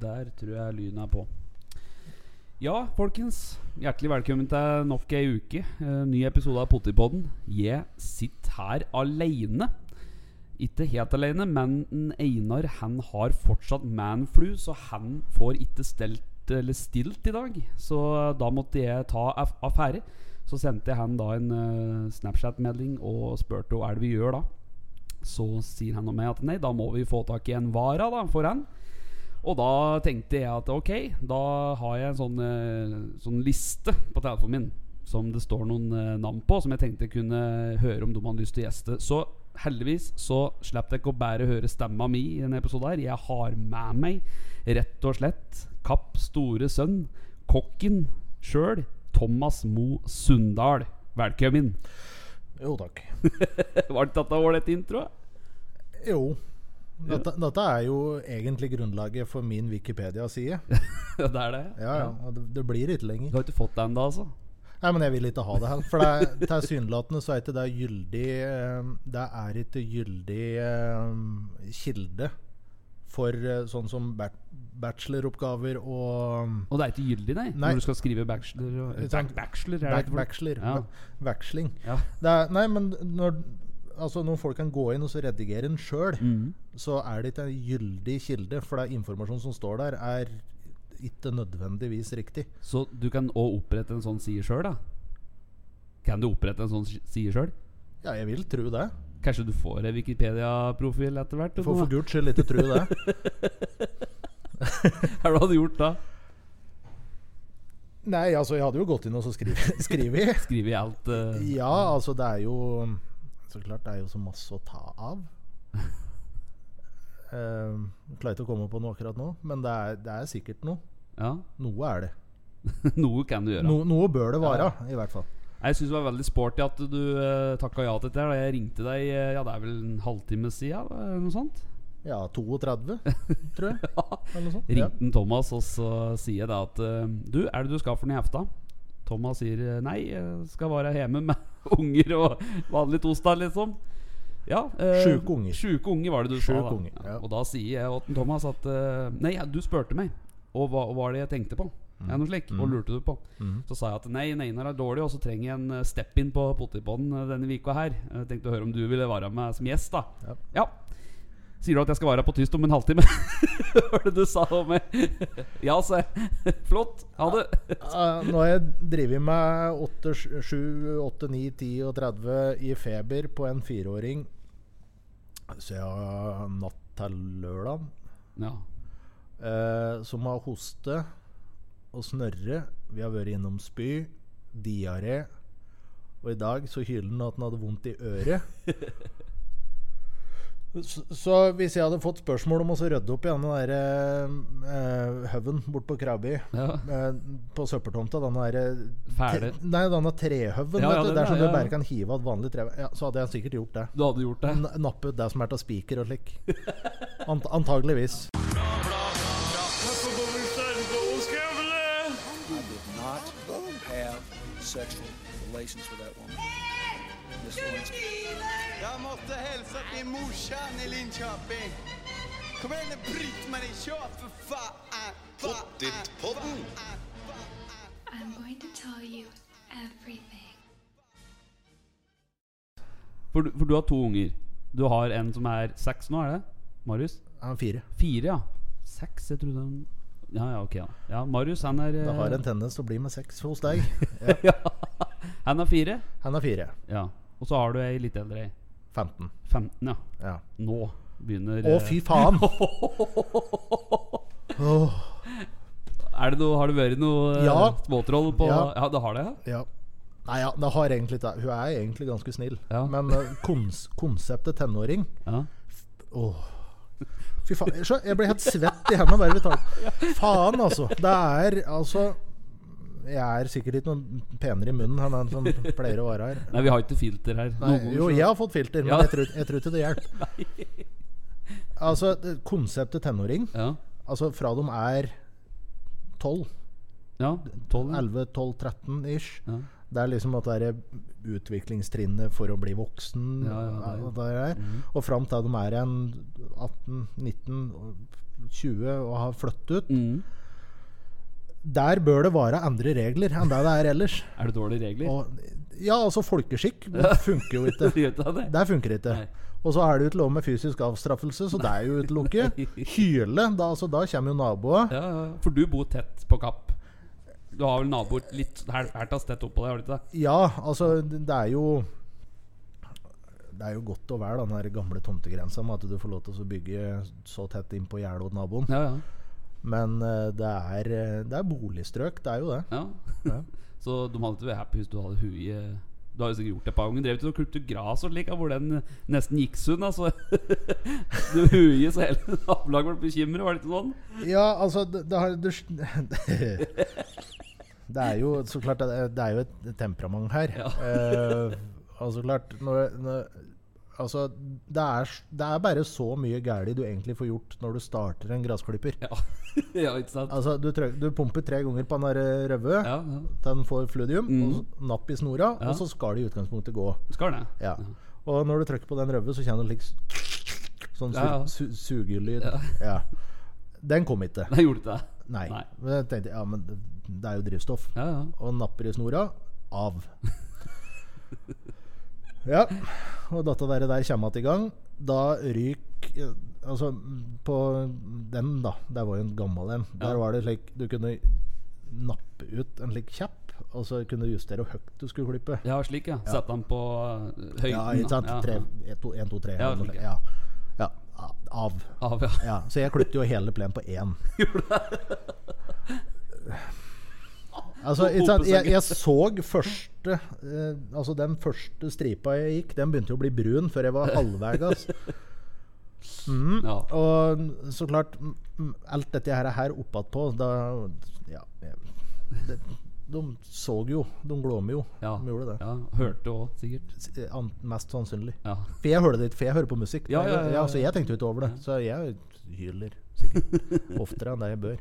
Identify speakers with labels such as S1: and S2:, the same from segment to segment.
S1: Der tror jeg lyden er på. Ja, folkens. Hjertelig velkommen til nok ei uke. Eh, ny episode av Pottipodden. Jeg sitter her aleine. Ikke helt aleine, men en Einar han har fortsatt manflu, så han får ikke stelt eller stilt i dag. Så da måtte jeg ta aff- affære. Så sendte jeg han da en eh, Snapchat-melding og spurte hva er det vi gjør da. Så sier han og meg at nei, da må vi få tak i en vara da, for han. Og da tenkte jeg at ok, da har jeg en sånn, eh, sånn liste på telefonen min som det står noen eh, navn på, som jeg tenkte jeg kunne høre om de hadde lyst til å gjeste. Så heldigvis så slapp jeg ikke å bære høre stemma mi i denne episoden her. Jeg har med meg rett og slett Kapp store sønn, kokken sjøl, Thomas Mo Sundal. Velkommen.
S2: Jo takk.
S1: Var det dette ålreit intro?
S2: Jo. Dette, dette er jo egentlig grunnlaget for min Wikipedia-side.
S1: det er det?
S2: Ja, ja, og det, det blir ikke
S1: Du
S2: lenger.
S1: har ikke fått det ennå, altså?
S2: Nei, men jeg vil ikke ha det her. For det er- tilsynelatende så er ikke det gyldig eh, Det er ikke gyldig eh, kilde for eh, sånn som ba- bacheloroppgaver og
S1: Og det er ikke gyldig, nei?
S2: Nei.
S1: Når du skal skrive bachelor og,
S2: Jeg
S1: Bac-
S2: tenker-
S1: Bachelor, er det
S2: Back,
S1: ikke for-
S2: bachelor.
S1: Ja.
S2: ve- Veksling.
S1: Ja.
S2: Det er, nei, men når Altså Når folk kan gå inn og så redigere en sjøl,
S1: Mhm.
S2: så er det ikke en gyldig kilde, for det er informasjon som står der, er ikke nødvendigvis riktig.
S1: Så du kan òg opprette en sånn side sjøl, da? Kan du opprette en sånn si- side sjøl?
S2: Ja, jeg vil tro det.
S1: Kanskje du får en Wikipedia-profil etter hvert?
S2: For,
S1: eller noe?
S2: for guds skyld ikke tro det.
S1: Hva hadde du gjort da?
S2: Nei, altså, jeg hadde jo gått inn og så skrevet. skrevet.
S1: Skrive i alt eh,
S2: Ja, altså, det er jo Så klart, det er jo så masse å ta av. Uh, klarer ikke å komme på noe akkurat nå, men det er, det er sikkert noe.
S1: Ja,
S2: Noe er det.
S1: noe kan du gjøre.
S2: No, noe bør det være, i hvert fall.
S1: Jeg syns det var veldig sporty at du uh, takka ja til dette. her, da Jeg ringte deg eh, ja, det er vel en halvtime siden, da, eller noe sånt?
S2: Ja, 32, tror jeg. Eller noe sånt. Ja.
S1: Ringte han Thomas, og så sier jeg da at eh, Du, er det du skal for noe i hefta? Thomas sier eh, nei, jeg skal være hjemme med unger og vanlig tosdag, liksom. Ja, eh,
S2: Sjuke unger.
S1: Sjuke unger var det du
S2: Sjuke
S1: sa. Da.
S2: unger, ja.
S1: Og da sier jeg åt Thomas at eh, Nei, ja, du spurte meg. Og hva hva var det jeg tenkte på? Ja, noe slik,
S2: Mm.
S1: Og lurte du på?
S2: Mhm.
S1: Så sa jeg at nei, Einar er dårlig, og så trenger jeg en eh, step in på potetbånd denne vika her. Jeg tenkte å høre om du ville være med som gjest, da.
S2: Ja.
S1: Ja. Sier du at jeg skal være her på tyst om en halvtime? Hva var det du sa om meg? ja, sa jeg. Flott. Ha det.
S2: Eh, Nå har jeg drevet med 8, 7, 8, 9, 10 og 30 i feber på en fireåring siden natt til lørdag.
S1: Ja.
S2: Eh, som har hoste og snørre. Vi har vært innom spy, diaré. Og i dag så hyler han at han hadde vondt i øret. Så, så hvis jeg hadde fått spørsmål om å så rydde opp igjen den der eh, haugen bort på Krabby
S1: ja.
S2: Eh, på søppeltomta, denne derre
S1: Fæle.
S2: eh, Nei, denne trehaugen,
S1: Ja, ja,
S2: vet du.
S1: den
S2: Der som
S1: er-
S2: du
S1: ja, ja.
S2: bare kan hive av et vanlig tre... Ja, så hadde jeg sikkert gjort det.
S1: Du hadde gjort det?
S2: N nappet det som er av spiker og slik. Ant antageligvis.
S3: I did not have sexual relations with that woman. Miss Lewinsky.
S4: Jeg måtte hilse til morsan i Linköping. Kom igjen, Britt-Marie, kjør for faen! Pottitpodden!
S5: I'm going to tell you everything.
S1: For du, for du har to unger. Du har en som er seks nå, er det? Marius?
S2: Han er fire.
S1: Fire, ja. Seks, jeg trodde han Ja, ja, ok. da Ja, Marius, han er
S2: Det har
S1: eh,
S2: en tendens til å bli med seks hos deg.
S1: ja. Han er fire?
S2: Han er fire.
S1: Ja. Og så har du ei litt eldre ei.
S2: 15.
S1: 15, ja.
S2: Ja.
S1: Nå begynner
S2: Å,
S1: eh,
S2: fy faen! Åh,
S1: Er det noe, Har det vært noe eh,
S2: Ja.
S1: småtroll på Ja,
S2: Ja.
S1: det har det? ja?
S2: ja. Nei, ja, det har egentlig ikke Hun er egentlig ganske snill.
S1: Ja.
S2: Men eh, kons konseptet tenåring
S1: Ja.
S2: Åh. Fy faen. Jeg skjø- Jeg blir helt svett i hendene bare vi tar den. Faen, altså. Det er altså Jeg er sikkert ikke noe penere i munnen enn den som pleier å være her.
S1: Nei, vi har ikke filter her.
S2: Nei,
S1: Noen ganger
S2: jo,
S1: så-
S2: jeg har fått filter, men
S1: Ja.
S2: jeg, tror, jeg tror ikke det hjelper. Altså, det- konseptet tenåring
S1: Ja.
S2: Altså fra de er 12,
S1: ja. 12.
S2: 11, 12, 13 ish,
S1: Ja.
S2: Det er liksom at det er utviklingstrinnet for å bli voksen.
S1: Ja, ja, det er jo- Mhm.
S2: og det der. Og fram til de er en 18-19-20 og har flyttet ut.
S1: Mm.
S2: Der bør det være andre regler enn det det er ellers.
S1: Er det dårlige regler?
S2: Og, ja, altså folkeskikk funker jo ikke.
S1: Gjør det det?
S2: Der funker det ikke.
S1: Nei.
S2: Og så er det jo ikke lov med fysisk avstraffelse, så det er jo utelukket. Hyle, da, altså, da kommer jo naboen.
S1: Ja, ja, for du bor tett på Kapp. Du har vel naboer litt her, her tas tett oppå deg, har du ikke det?
S2: Ja, altså, det er jo Det er jo godt å være den her gamle tomtegrensa med at du får lov til å bygge så tett innpå gjerdet og naboen.
S1: Ja, ja.
S2: Men eh, det er, eh, det er boligstrøk, det er jo det.
S1: Ja.
S2: Ja.
S1: Så de hadde ikke vært happy hvis du hadde huet i Du har jo sikkert gjort det et par ganger. Drevet og klippet gress og slik, hvor den nesten gikk sunn. Altså. du huet så hele nabolaget ble bekymret, var det ikke sånn?
S2: Ja, altså Det, det, har, du, det er jo så klart Det er, det er jo et temperament her. Eh, altså klart når, når, Altså det er, s- det er bare så mye galt du egentlig får gjort når du starter en gressklipper.
S1: Ja. ja, ikke sant?
S2: Altså, du, trø- du pumper tre ganger på den der røve
S1: Ja, ja.
S2: til den får fludium.
S1: Mm.
S2: Og så napp i snora,
S1: Ja.
S2: og så skal det i utgangspunktet gå.
S1: Skal det?
S2: Ja. Og når du trykker på den røve, så kjenner du liksom sånn su
S1: Ja, ja.
S2: su sugelyd.
S1: Ja.
S2: Ja. Den kom ikke.
S1: Nei, gjorde ikke det?
S2: Nei.
S1: Nei.
S2: Men jeg tenkte ja, men det er jo drivstoff.
S1: Ja, ja.
S2: Og napper i snora av. ja. Og dette der, der kommer igjen i gang. Da ryk eh, Altså, på den, da. Der var jo en gammel en. Der
S1: Ja.
S2: var det slik Du kunne nappe ut en slik kjapp, og så kunne du justere hvor høyt du skulle klippe.
S1: Ja, slik, ja. Sette den på eh, høyden.
S2: Ja, ikke sant?
S1: da. Ja,
S2: Tre,
S1: ja.
S2: en, to, en, to, tre.
S1: Ja,
S2: eller noe
S1: slik,
S2: slik.
S1: ja.
S2: ja. ja. Av.
S1: Av, ja.
S2: Ja, så jeg klippte jo hele plenen på én. altså, ikke sant, jeg, jeg så første eh, Altså den første stripa jeg gikk, den begynte jo å bli brun før jeg var halvveis. Mm,
S1: Ja.
S2: Og så klart mm, mm, Alt dette her, her oppatpå da, ja, jeg- det, De så jo. De glåmer jo.
S1: ja.
S2: De gjorde det.
S1: ja. Hørte òg, sikkert.
S2: S- eh, an- Mest sannsynlig.
S1: Ja.
S2: For jeg hører det ikke, for jeg hører på musikk.
S1: Ja, ja, ja, ja.
S2: så jeg tenkte jo ikke over det. Så jeg hyler sikkert oftere enn det jeg bør.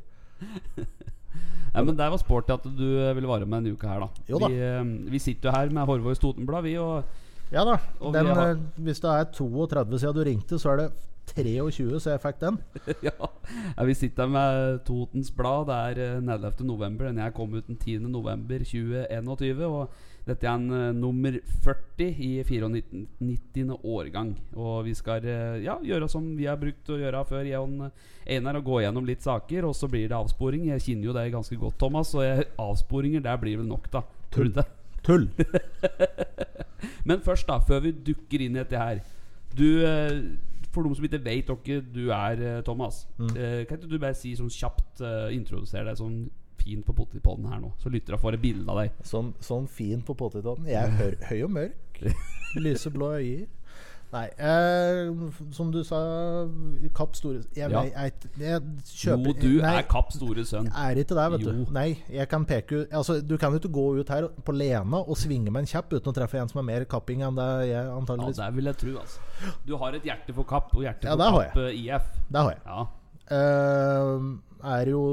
S1: Nei, men der var sporty at du eh, ville være med denne uka her, da.
S2: Jo da.
S1: Vi, eh, vi sitter jo her med Horvors Totenblad, vi, og
S2: Ja da.
S1: Og
S2: Den,
S1: vi har-
S2: eh, hvis det er 32 siden du ringte, så er det 23 så jeg fikk den.
S1: ja. ja, vi sitter med Totens Blad. Det er eh, 11. november. Den jeg kom ut den 10. november 2021. Og dette er en eh, nummer 40 i 94. 90. årgang. Og vi skal eh, ja, gjøre som vi har brukt å gjøre før, jeg og en, eh, Einar, og gå gjennom litt saker. Og så blir det avsporing. Jeg kjenner jo deg ganske godt, Thomas, og jeg, avsporinger der blir vel nok, da. Tror du ikke?
S2: Tull!
S1: Men først, da, før vi dukker inn i dette her Du, eh, For de som ikke vet hvem du er, eh, Thomas,
S2: Mm.
S1: eh, kan ikke du bare si sånn kjapt eh, Introdusere deg sånn fint på potetpollen her nå, så lytter jeg får et bilde av deg.
S2: Sånn, sånn fin på potetåten. Jeg er høy, høy og mørk. Lyseblå øyer. Nei, eh, f- som du sa Kapp Store Jeg,
S1: Ja.
S2: vei- jeg, jeg kjøper
S1: Jo, du
S2: nei,
S1: er Kapp store sønn.
S2: Er ikke det, vet
S1: Jo.
S2: du. Nei, jeg kan peke ut Altså, Du kan jo ikke gå ut her på Lena og svinge med en kjapp uten å treffe en som er mer kapping enn det jeg
S1: Ja,
S2: antageligvis
S1: det vil jeg tro, altså. Du har et hjerte for Kapp og hjerte
S2: Ja,
S1: for
S2: det har
S1: Kapp eh, IF.
S2: Det har jeg.
S1: Ja.
S2: Eh, er jo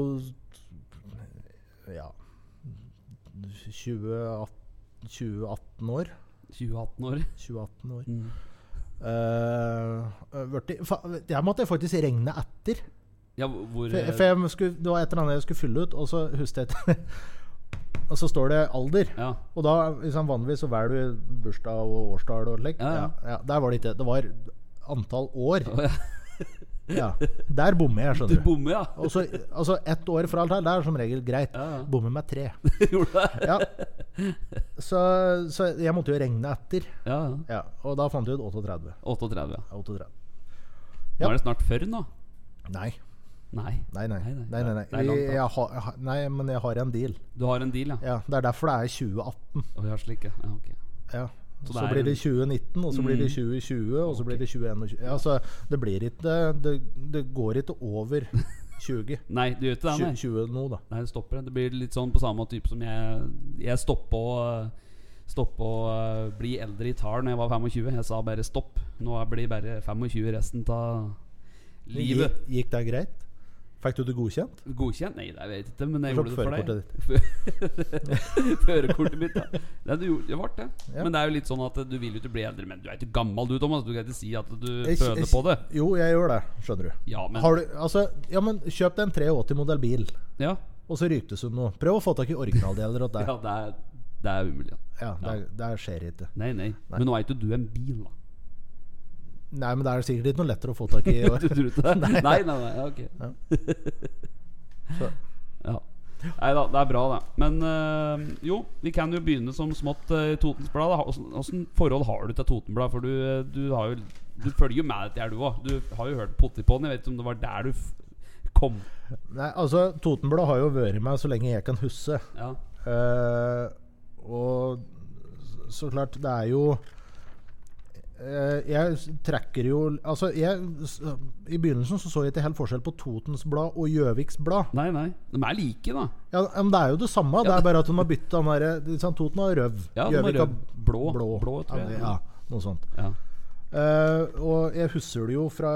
S2: Ja 2018, 2018 år.
S1: 2018 år.
S2: 2018 år.
S1: Mm.
S2: Eh, vært i- fa- jeg måtte jeg faktisk regne etter.
S1: Ja, hvor
S2: For,
S1: eh,
S2: for jeg skulle, Det var et eller annet jeg skulle fylle ut, og så husket jeg etter. Og så står det alder.
S1: Ja.
S2: Og da, liksom, vanligvis så velger du bursdag og årstall og slikt.
S1: Ja, ja.
S2: Ja, ja, der var det ikke. Det var antall år.
S1: Å, ja.
S2: Ja. Der bommer
S1: Du
S2: jeg, skjønner du.
S1: bommer, ja.
S2: Og så- altså ett år fra alt her, det er som regel greit.
S1: Ja, ja.
S2: Bommer med tre.
S1: Gjorde det?
S2: Ja. Så, så jeg måtte jo regne etter.
S1: Ja, ja.
S2: Ja, og da fant jeg ut 38.
S1: 38, ja.
S2: 38.
S1: Nå
S2: Ja.
S1: er det snart 40 nå.
S2: Nei.
S1: Nei.
S2: Nei, nei.
S1: Nei,
S2: nei,
S1: nei.
S2: nei, nei.
S1: Det er langt, da.
S2: Vi- Jeg har, jeg har- nei men jeg har en deal.
S1: Du har en deal, ja.
S2: Ja, det er derfor det er 2018.
S1: Å, ja slik, ja. ja ok.
S2: Ja.
S1: Så
S2: Så,
S1: det er en-
S2: blir
S1: Mm.
S2: det 2019, og så blir det 2020, og så blir det 2021. Ja, så det blir ikke Det, det går ikke over 20.
S1: Nei, du gjør ikke det, nei.
S2: 20, 20 nå, da.
S1: Nei, det stopper. Det blir litt sånn på samme type som jeg Jeg stoppa å Stoppe å eh, bli eldre i tall når jeg var 25. Jeg sa bare stopp. Nå blir jeg bare 25 resten av livet.
S2: Gikk, gikk det greit? Fikk du det godkjent?
S1: Godkjent? Nei, det vet jeg ikke, men jeg
S2: Slapp
S1: gjorde det for
S2: førerkortet
S1: deg. Førerkortet mitt, ja. Nei, du gjorde, det ble det.
S2: Ja.
S1: Men det er jo litt sånn at eh, du vil jo ikke bli eldre. Men du er ikke gammel du, Thomas. Du kan ikke si at du
S2: Jeg-
S1: føler
S2: jeg-
S1: på det.
S2: Jo, jeg gjør det, skjønner du.
S1: Ja, men
S2: Har du altså, ja, men kjøp deg en 380-modell bil,
S1: Ja,
S2: og så ryktes det noe. Prøv å få tak i originaldeler og det.
S1: ja det, er, det er umulig. Ja.
S2: Ja, det, det skjer ikke.
S1: Nei, nei, Men nå er ikke du en bil, da.
S2: Nei, men det er sikkert ikke noe lettere å få tak i.
S1: Du tror ikke det? Nei, nei, nei, ja, ok.
S2: Så.
S1: Ja. Nei da, det er bra, det. Men eh, jo, vi kan jo begynne som smått eh, i Totens Blad. da. Åssen åssen forhold har du til Toten Blad? For du, eh, du, har jo, du følger jo med dette, her, du òg. Du har jo hørt Pottipodden. Jeg vet ikke om det var der du f kom.
S2: Nei, altså, Totenblad har jo vært med så lenge jeg kan huske.
S1: Ja.
S2: Eh, og s- så klart, det er jo eh, Jeg s- trekker jo Altså, jeg, s- i begynnelsen så, så jeg ikke helt forskjell på Totens Blad og Gjøviks Blad.
S1: Nei, nei. De er like, da.
S2: Ja, men det er jo det samme, det er bare at de har bytta den derre ikke sant, Toten har røv.
S1: Ja, de har
S2: Gjøvik
S1: røv. Blå. Blå, tror jeg.
S2: Ja, noe sånt.
S1: Ja.
S2: Eh, og jeg husker det jo fra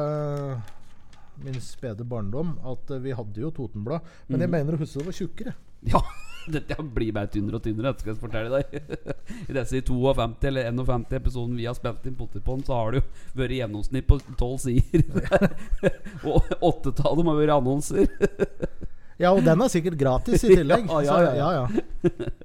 S2: min spede barndom at eh, vi hadde jo Totenblad. Men
S1: Mm.
S2: jeg mener å huske det var tjukkere.
S1: ja. Dette blir bare tynnere og tynnere, dette skal jeg fortelle deg. I disse 52 eller 51 episoden vi har spilt inn Pottipodden, så har det jo vært gjennomsnitt på tolv sider. og åtte av dem har vært annonser.
S2: Ja, og den er sikkert gratis i tillegg.
S1: Ja, ja,
S2: så-
S1: ja, ja.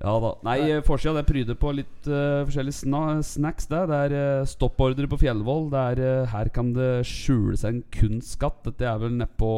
S1: Ja da. Nei, eh, forsida det pryder på litt eh, forskjellige sna snacks. Der. Det er eh, stoppordre på Fjellvoll. Det er eh, Her kan det skjule seg en kunstskatt. Dette er vel nedpå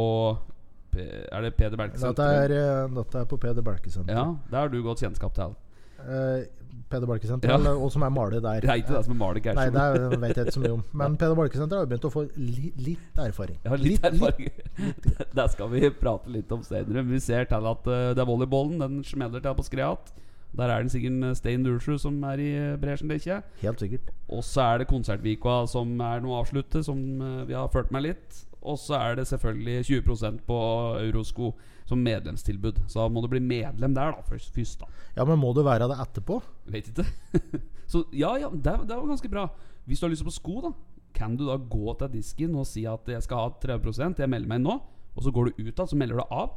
S1: Er det Peder Berg
S2: Dette, er, eh, dette er på Peder Berkesenteret.
S1: Ja, det har du godt kjennskap til.
S2: Eh, Peder
S1: Ja.
S2: Berkesenteret, og som er maler der.
S1: Det er ikke det som er Malik
S2: Nei,
S1: Gerson.
S2: det er- vet jeg ikke så mye om. Men Peder Berkesenteret har jo begynt å få li, litt erfaring.
S1: Jeg har litt erfaring. Det skal vi prate litt om senere. Men vi ser til at eh, det er volleyballen. Den smeller til på skreat. Der er det sikkert en Stein Dursrud som er i eh, bresjen, det ikke?
S2: Helt sikkert.
S1: Og så er det konsertvika som er noe å avslutte, som eh, vi har ført med litt. Og så er det selvfølgelig 20 på Eurosko som medlemstilbud. Så da må du bli medlem der, da, først. først da.
S2: Ja, men må du være det etterpå?
S1: Vet ikke. så ja, ja, det, det var ganske bra. Hvis du har lyst på sko, da, kan du da gå til disken og si at jeg skal ha 30 jeg melder meg inn nå. Og så går du ut da, så melder du deg av.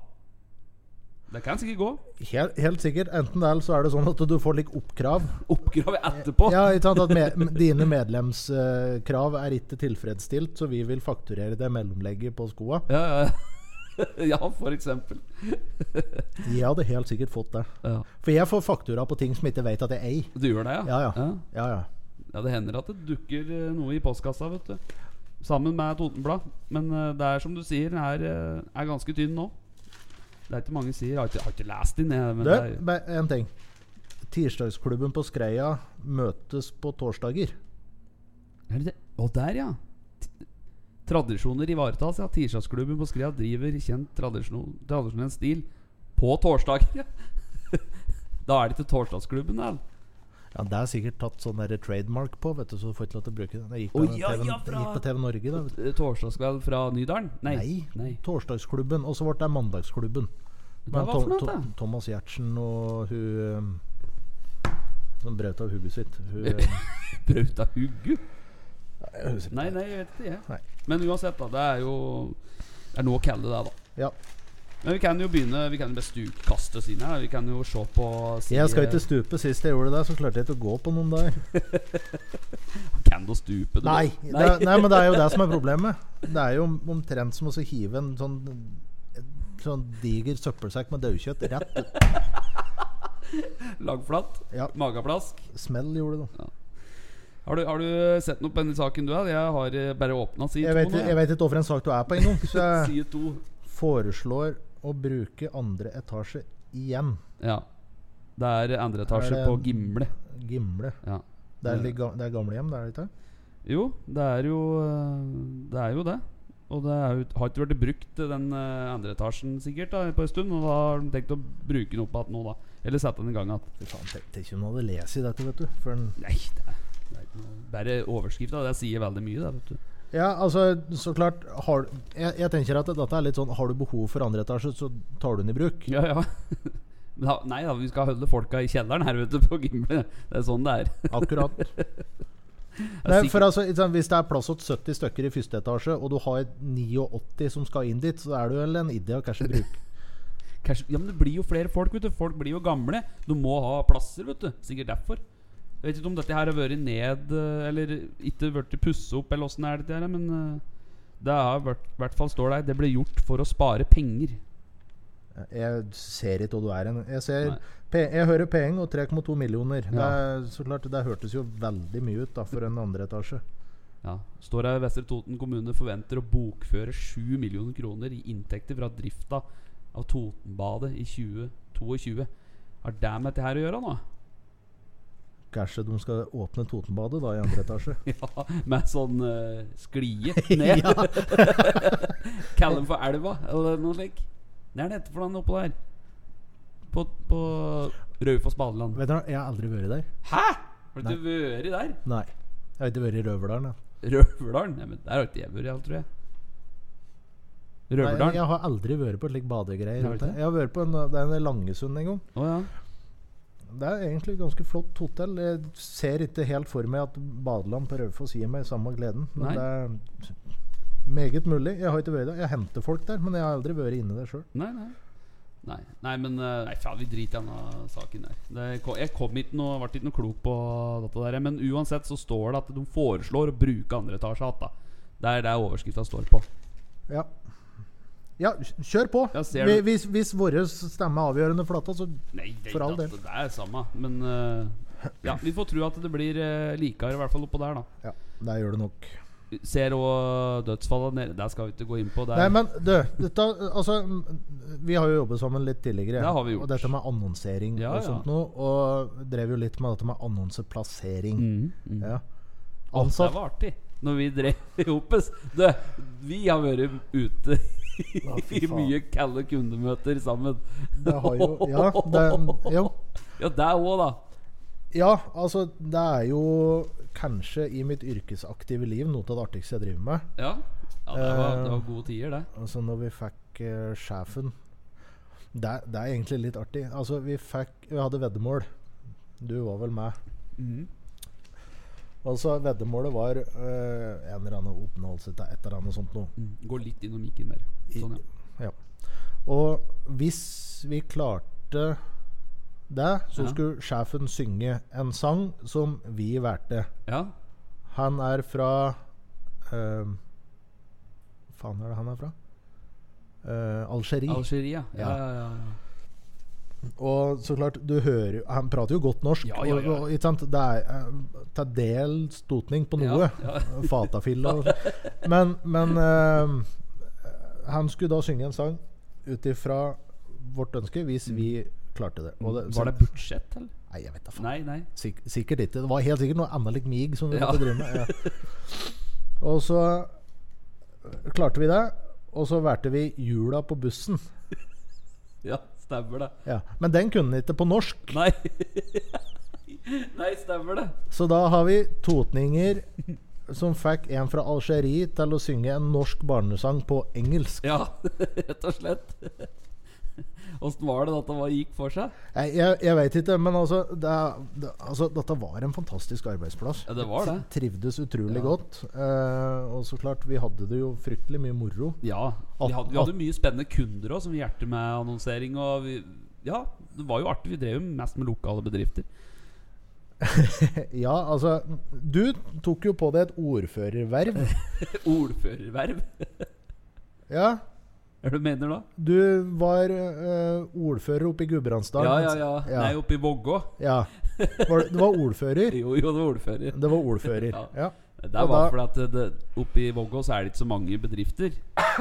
S1: Det kan sikkert gå.
S2: Helt, helt sikkert. Enten det, eller så er det sånn at du får litt oppkrav.
S1: Oppgrave etterpå.
S2: Ja, ikke sant at me Dine medlemskrav er ikke tilfredsstilt, så vi vil fakturere det mellomlegget på skoa.
S1: ja, ja. ja for eksempel.
S2: Jeg hadde helt sikkert fått det.
S1: Ja.
S2: For jeg får faktura på ting som ikke vet at jeg eier.
S1: Du gjør det,
S2: Ja, ja.
S1: ja.
S2: Ja, ja.
S1: Ja, det hender at det dukker eh, noe i postkassa, vet du. Sammen med Totenblad. Men eh, det er som du sier, den her eh, er ganske tynn nå. Det er ikke mange sier. Jeg har ikke, jeg har ikke lest den, jeg. Men
S2: Du,
S1: det er,
S2: be- en ting. Tirsdagsklubben på Skreia møtes på torsdager.
S1: er det det? Å, der, ja. T- Tradisjoner ivaretas, ja. Tirsdagsklubben på Skrea driver kjent tradisjon, tradisjonell stil på torsdager. ja. da er det ikke torsdagsklubben, da.
S2: Ja, Det er sikkert tatt sånn der trademark på, vet du, så du får ikke lov til å bruke den. Det gikk på,
S1: Å,
S2: den
S1: ja,
S2: TV,
S1: ja,
S2: det
S1: fra-
S2: gikk på TV Norge, da. Vet du.
S1: Eh, Torsdagskveld fra Nydalen? Nei.
S2: Nei. Torsdagsklubben. Og så ble det Mandagsklubben.
S1: Hva
S2: Men
S1: var for
S2: Tom,
S1: noe,
S2: to,
S1: da?
S2: Thomas Giertsen og hun um, som brøt av hodet sitt Hun um,
S1: Brauta Huggu?
S2: jeg husker
S1: Nei, nei, jeg vet ikke. Jeg.
S2: Nei.
S1: Men uansett, da. Det er jo Det er noe å kalle det, da.
S2: Ja.
S1: Men vi kan jo begynne Vi kan jo bare stupkaste oss inn her. da. Vi kan jo se på si-
S2: Jeg skal ikke stupe. Sist jeg gjorde det, så klarte jeg ikke å gå på noen dager.
S1: Kan du stupe? Du,
S2: Nei,
S1: Nei.
S2: det, nei, men det er jo det som er problemet. Det er jo om- omtrent som å så hive en sånn, en sånn diger søppelsekk med daukjøtt rett ut.
S1: Lagflatt?
S2: Ja,
S1: Mageplask?
S2: smell gjorde det. da.
S1: Har du, har du sett noe på denne saken du har? Jeg har eh, bare åpna side
S2: Jeg
S1: to
S2: vet,
S1: nå.
S2: jeg vet ikke hvorfor en sak du er på innom, så jeg
S1: Side to.
S2: foreslår å bruke andre etasje igjen.
S1: Ja. Det er andre
S2: Er
S1: etasje
S2: det-
S1: på Gimle.
S2: Gimle.
S1: Ja.
S2: Det er, litt ga, det er gamlehjem, det er det ikke?
S1: Jo, det er jo eh, Det er jo det. Og det er jo, har ikke vært brukt eh, den eh, andre etasjen sikkert da, på en stund, og da har de tenkt å bruke den opp igjen nå, da. Eller sette den i gang igjen.
S2: Fy faen, tenk- tenk om du hadde lest i dette, vet du. For en
S1: Nei, det er, det er ikke noe Bare overskrifta. Det sier veldig mye, det, vet du.
S2: Ja, altså, så klart har, jeg, jeg tenker at dette er litt sånn Har du behov for andre etasje, så tar du den i bruk.
S1: Ja, ja. Men da, nei da, vi skal holde folka i kjelleren her ute på Gimle. Det er sånn det er.
S2: Akkurat. Nei,
S1: sikkert-
S2: for altså, ikke sant, hvis det er plass til 70 stykker i første etasje, og du har et 89 som skal inn dit, så er du vel en idé å kanskje bruke.
S1: Kanskje, ja, men det blir jo flere folk, vet du. Folk blir jo gamle. Du må ha plasser, vet du. Sikkert derfor. Jeg vet ikke om dette her har vært ned eh, Eller ikke vært pussa opp, eller åssen det er, dette her, men eh, det har vært, i hvert fall står der. Det ble gjort for å spare penger.
S2: Jeg ser ikke hva du er hen. Jeg, ser,
S1: Nei.
S2: pe- jeg hører penger og 3,2 millioner. Det,
S1: Ja.
S2: er, så klart, det hørtes jo veldig mye ut da, for en andre etasje.
S1: Ja. Står her Vestre Toten kommune forventer å bokføre 7 millioner kroner i inntekter fra drifta av Totenbadet i 2022. Har det med dette her å gjøre nå?
S2: Kanskje de skal åpne Totenbadet da i andre etasje?
S1: Ja, med sånn eh, sklie ned. Kaller den for elva, eller noe slikt. Det er det heter for den oppå der. På, på Raufoss badeland.
S2: Vet du, hva, Jeg har aldri vært der.
S1: Hæ?! Har du vært der?
S2: Nei. Jeg har ikke vært i Røverdalen. jeg.
S1: Røverdalen? Nei, men der har ikke jeg vært, jeg, tror jeg.
S2: Nei,
S1: Røverdalen?
S2: Jeg har aldri vært på slik badegreier.
S1: Har du
S2: vet
S1: ikke?
S2: du. Jeg har vært på en, det er en Langesund en gang.
S1: Å ja.
S2: Det er egentlig et ganske flott hotell. Jeg ser ikke helt for meg at badeland på Raufoss gir meg samme gleden. Men
S1: Nei.
S2: det er meget mulig. Jeg har ikke vært der. Jeg henter folk der, men jeg har aldri vært inne der sjøl.
S1: Nei, nei. Nei, nei men eh, Nei, faen, vi driter i denne saken der. Det, ko- jeg kom ikke noe, ble ikke noe klok på dette der. Men uansett så står det at de foreslår å bruke andre etasje igjen. da. Det er det overskrifta står på.
S2: Ja. ja, kjør på!
S1: Ja, ser
S2: Vi-
S1: du.
S2: hvis hvis vår stemme er avgjørende for dette, så
S1: Nei, det,
S2: For all
S1: det,
S2: del.
S1: det er samme. Men eh, ja, vi får tro at det blir uh, likere, i hvert fall oppå der, da.
S2: Ja, der gjør det nok.
S1: Ser òg dødsfallene nede. Der skal vi ikke gå inn på. Der.
S2: Nei, men du, dette, altså mm, Vi har jo jobbet sammen litt tidligere.
S1: Det har vi gjort.
S2: Og dette med annonsering
S1: Ja,
S2: og
S1: ja.
S2: sånt noe. Og drev jo litt med dette med annonseplassering.
S1: Mm, mm.
S2: Ja.
S1: Å,
S2: Ansatt
S1: Det var artig når vi drev i Opus. Du, vi har vært ute
S2: Ja, fy
S1: i
S2: faen.
S1: mye kalde kundemøter sammen.
S2: Det har jo Ja, det, jo.
S1: Ja, det òg, da.
S2: ja altså det er jo kanskje i mitt yrkesaktive liv noe av det artigste jeg driver med.
S1: Ja, ja det, var, det var gode tider, det.
S2: Altså når vi fikk eh, sjefen det, er- det er egentlig litt artig. Altså vi fikk Vi hadde veddemål. Du var vel med.
S1: Mhm.
S2: Altså veddemålet var eh, en eller annen oppnåelse til et eller annet sånt noe.
S1: Mm. Gå litt innom mikken mer. Sånn, ja.
S2: Ja. Og hvis vi klarte det, så
S1: Ja.
S2: skulle sjefen synge en sang som vi valgte.
S1: ja.
S2: Han er fra eh, Faen, er det han er fra? Eh, Algerie.
S1: Algeria. Ja, ja, ja.
S2: og så klart, du hører jo- Han prater jo godt norsk.
S1: Ja, ja, ja.
S2: Og, og, ikke sant? Det er eh, til del stotning på
S1: Ja,
S2: noe.
S1: ja.
S2: Fatafilla. og- Men, men eh, han skulle da synge en sang ut ifra vårt ønske, hvis vi klarte det. Og det
S1: Mm. Var det budsjett, eller?
S2: Nei, jeg vet da faen.
S1: Nei, nei.
S2: Sik sikkert ikke. Det var helt sikkert noe annet like mig som vi
S1: Ja.
S2: måtte drive med. Ja. Og så eh, klarte vi det, og så valgte vi jula på bussen.
S1: Ja, stemmer det.
S2: Ja. Men den kunne den ikke på norsk,
S1: Nei. nei, stemmer det.
S2: så da har vi totninger som fikk en fra Algerie til å synge en norsk barnesang på engelsk.
S1: Ja, rett og slett. Åssen var det at det var- gikk for seg?
S2: Jeg, jeg, jeg veit ikke, men altså, det, er- det, altså Dette var en fantastisk arbeidsplass.
S1: Ja, det var det.
S2: Trivdes utrolig
S1: Ja.
S2: godt. Eh, og så klart, vi hadde det jo fryktelig mye moro.
S1: Ja. Vi
S2: At-
S1: hadde, vi hadde mye spennende kunder òg, som vi hjertet med annonsering. Og vi, ja, det var jo artig. Vi drev jo mest med lokale bedrifter.
S2: Ja, altså Du tok jo på deg et ordførerverv.
S1: Ordførerverv.
S2: Ja.
S1: Er det du mener da?
S2: Du var eh, ordfører oppe i Gudbrandsdalen.
S1: Ja, ja, ja.
S2: Ja.
S1: Nei, oppe i Vågå.
S2: Ja. Var det, det var ordfører.
S1: Jo, jo, det var ordfører.
S2: Det var ordfører.
S1: Ja.
S2: Ja.
S1: Det
S2: Og
S1: var
S2: da-
S1: fordi at det, det, oppe i Vågå så er det ikke så mange bedrifter.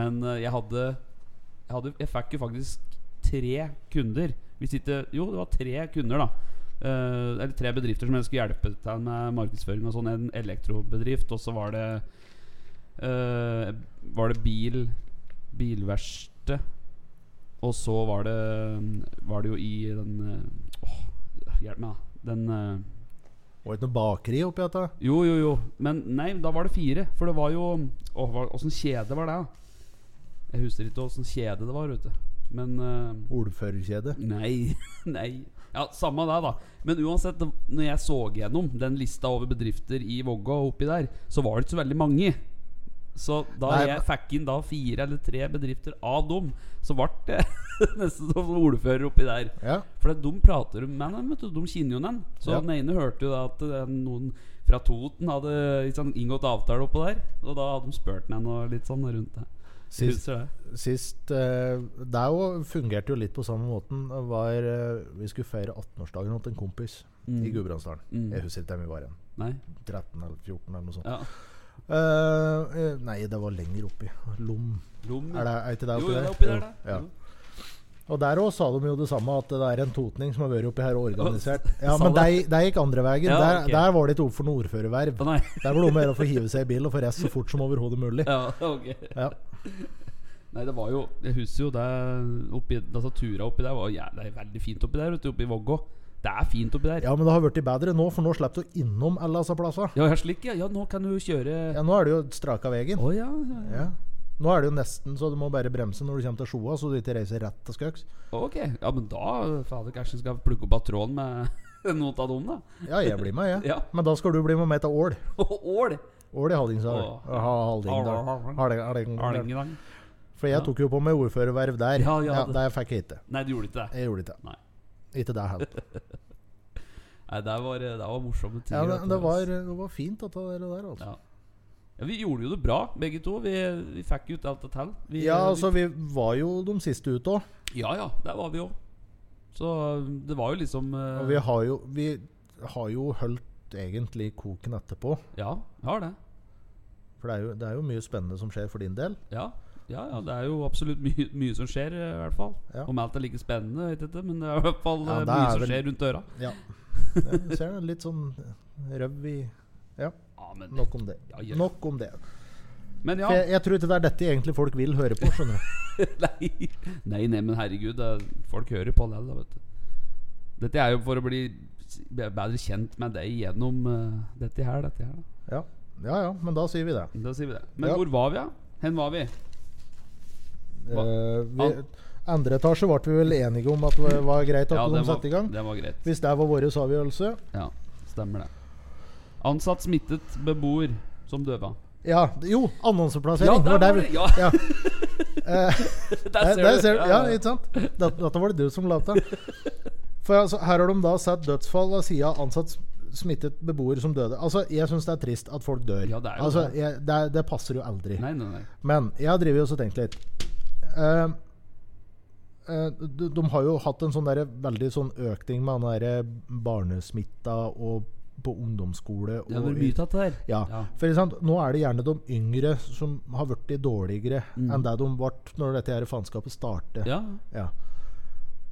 S1: Men eh, jeg hadde Jeg, hadde, jeg fikk jo faktisk tre kunder. Hvis ikke Jo, det var tre kunder, da. Eh, eller tre bedrifter som jeg skulle hjelpe til med markedsføring og sånn. En elektrobedrift, og så var det eh, Var det bil Bilverksted. Og så var det mm, Var det jo i den eh, Åh, hjelp meg, da. Den eh,
S2: Var det ikke noe bakeri oppi dette?
S1: jo, jo, jo. Men nei, da var det fire. For det var jo Åh, hva- åssen kjede var det? da? Jeg husker ikke åssen kjede det var, vet du. Men eh,
S2: Ordførerkjede.
S1: Nei. Nei. Ja, Samme det, da. Men uansett, det- når jeg så gjennom den lista over bedrifter i Vågå og oppi der, så var det ikke så veldig mange. Så da
S2: Nei,
S1: jeg fikk inn da fire eller tre bedrifter av dem, så ble det nesten som ordfører oppi der.
S2: Ja.
S1: For det- de prater med dem, vet du. De kjenner jo den. Så
S2: Ja.
S1: den ene hørte jo da at eh, noen fra Toten hadde ikke sant, inngått avtale oppå der. Og da hadde de spurt meg noe litt sånn rundt det. Jeg
S2: Sist,
S1: husker det.
S2: sist eh, Det er jo, fungerte jo litt på samme måten. Var, eh, vi skulle feire 18-årsdagen hos en kompis i Gudbrandsdalen.
S1: Mm.
S2: Jeg husker ikke hvem vi var igjen.
S1: Nei.
S2: 13 eller 14 eller noe sånt.
S1: Ja.
S2: Eh, eh, nei, det var lenger oppi. Lom.
S1: Rom,
S2: Er det er ikke det
S1: Jo,
S2: oppi
S1: det
S2: der?
S1: er oppi der,
S2: Jo,
S1: da.
S2: ja. Og der òg sa de jo det samme, at det er en totning som har vært oppi her og organisert. Ja,
S1: Sa
S2: Men
S1: det?
S2: de, de gikk andre veien.
S1: Ja,
S2: der,
S1: ok.
S2: der var det ikke opp for noe ordførerverv.
S1: Å, Nei.
S2: Der var det om å gjøre å få hive seg i bil og få reist så fort som overhodet mulig.
S1: Ja, ok.
S2: Ja.
S1: Nei, det var jo Jeg husker jo det oppi, altså, Tura oppi der var jævla veldig fint oppi der, vet du. Oppi Vågå. Det er fint oppi der.
S2: ja, men det har blitt bedre nå, for nå slipper du innom alle disse plassene.
S1: Ja, jeg slik, ja. ja. Nå kan du kjøre Å
S2: Ja, nå er det jo straka veien.
S1: ja. ja, ja.
S2: Ja. Nå er det jo nesten så du må bare bremse når du kommer til Sjoa, så du ikke reiser rett til Skøks.
S1: Ok. Ja, men da Fader, kanskje vi skal plukke opp av tråden med noen av dem, da.
S2: Ja, jeg blir med, jeg.
S1: Ja.
S2: Men da skal du bli med meg til Ål.
S1: Ål!
S2: Ål i Hallingdal.
S1: Åh.
S2: Ha- Hallingdal.
S1: Hallingdal.
S2: Halling- Hallingdal.
S1: Arlingedang.
S2: For jeg
S1: Ja.
S2: tok jo på meg ordførerverv der.
S1: Ja,
S2: Ja,
S1: ja, det-
S2: Der fikk jeg ikke.
S1: Nei, du gjorde ikke det.
S2: Jeg gjorde ikke det.
S1: Nei.
S2: Ikke det heller.
S1: Nei, det var, eh, det var morsomme ting.
S2: Ja, men det var, det var fint, dette der, der, altså.
S1: Ja. ja, Vi gjorde jo det bra, begge to. Vi, vi fikk ut alt det til. Vi-
S2: Ja, altså, vi var jo de siste ute òg.
S1: Ja ja, der var vi òg. Så det var jo liksom eh,
S2: Og vi har jo Vi har jo holdt egentlig koken etterpå.
S1: Ja, vi har det.
S2: For det er, jo, det er jo mye spennende som skjer for din del.
S1: Ja, ja, ja det er jo absolutt mye, mye som skjer, eh, i hvert fall.
S2: Ja.
S1: Om alt er like spennende, vet jeg ikke, men det er i hvert fall
S2: Ja,
S1: eh,
S2: det
S1: mye
S2: er
S1: som
S2: vel-
S1: skjer rundt døra.
S2: Ja. Jeg ser det, litt sånn røv i Ja,
S1: Ja, men,
S2: nok om det.
S1: Ja, ja.
S2: Nok om det.
S1: men ja
S2: For jeg, jeg tror ikke det er dette egentlig folk vil høre på, skjønner du.
S1: nei, nei, nei, men herregud, det, er- folk hører på det, da, vet du. Dette er jo for å bli s- be- bedre kjent med deg gjennom eh, dette her, dette her. Da.
S2: Ja. ja ja, men da sier vi det.
S1: da sier vi det. Men
S2: Ja.
S1: hvor var vi, da? Hen var vi?
S2: Eh, vi,
S1: Al-
S2: andre etasje ble vi vel enige om at det var greit at de
S1: det var,
S2: satte i gang.
S1: det var greit.
S2: Hvis det var vår avgjørelse
S1: Ja, stemmer det. Ansatt, smittet, beboer som døva.
S2: Ja, jo, annonseplassering.
S1: Ja,
S2: det var
S1: der
S2: der
S1: var
S2: vi-
S1: det, ja.
S2: ja. Eh,
S1: Der
S2: Der ser du.
S1: Ja,
S2: Ja,
S1: ja.
S2: ikke sant? Dette, dette var det du som la til. For altså, her har de da sett dødsfall av sida ansatt smittet beboer som døde. Altså, Jeg syns det er trist at folk dør.
S1: Ja, det er jo
S2: altså,
S1: det.
S2: jeg, det, er, det passer jo aldri.
S1: Nei, nei, nei.
S2: Men jeg har drevet og så tenkt litt. Eh, eh, de, de har jo hatt en sånn der, veldig sånn økning med den derre barnesmitta og på ungdomsskole. Og
S1: Det har vært mye tatt her.
S2: ja.
S1: Ja.
S2: For sant? Nå er det gjerne de yngre som har blitt dårligere enn det de ble når dette her faenskapet startet.
S1: Mm. Ja.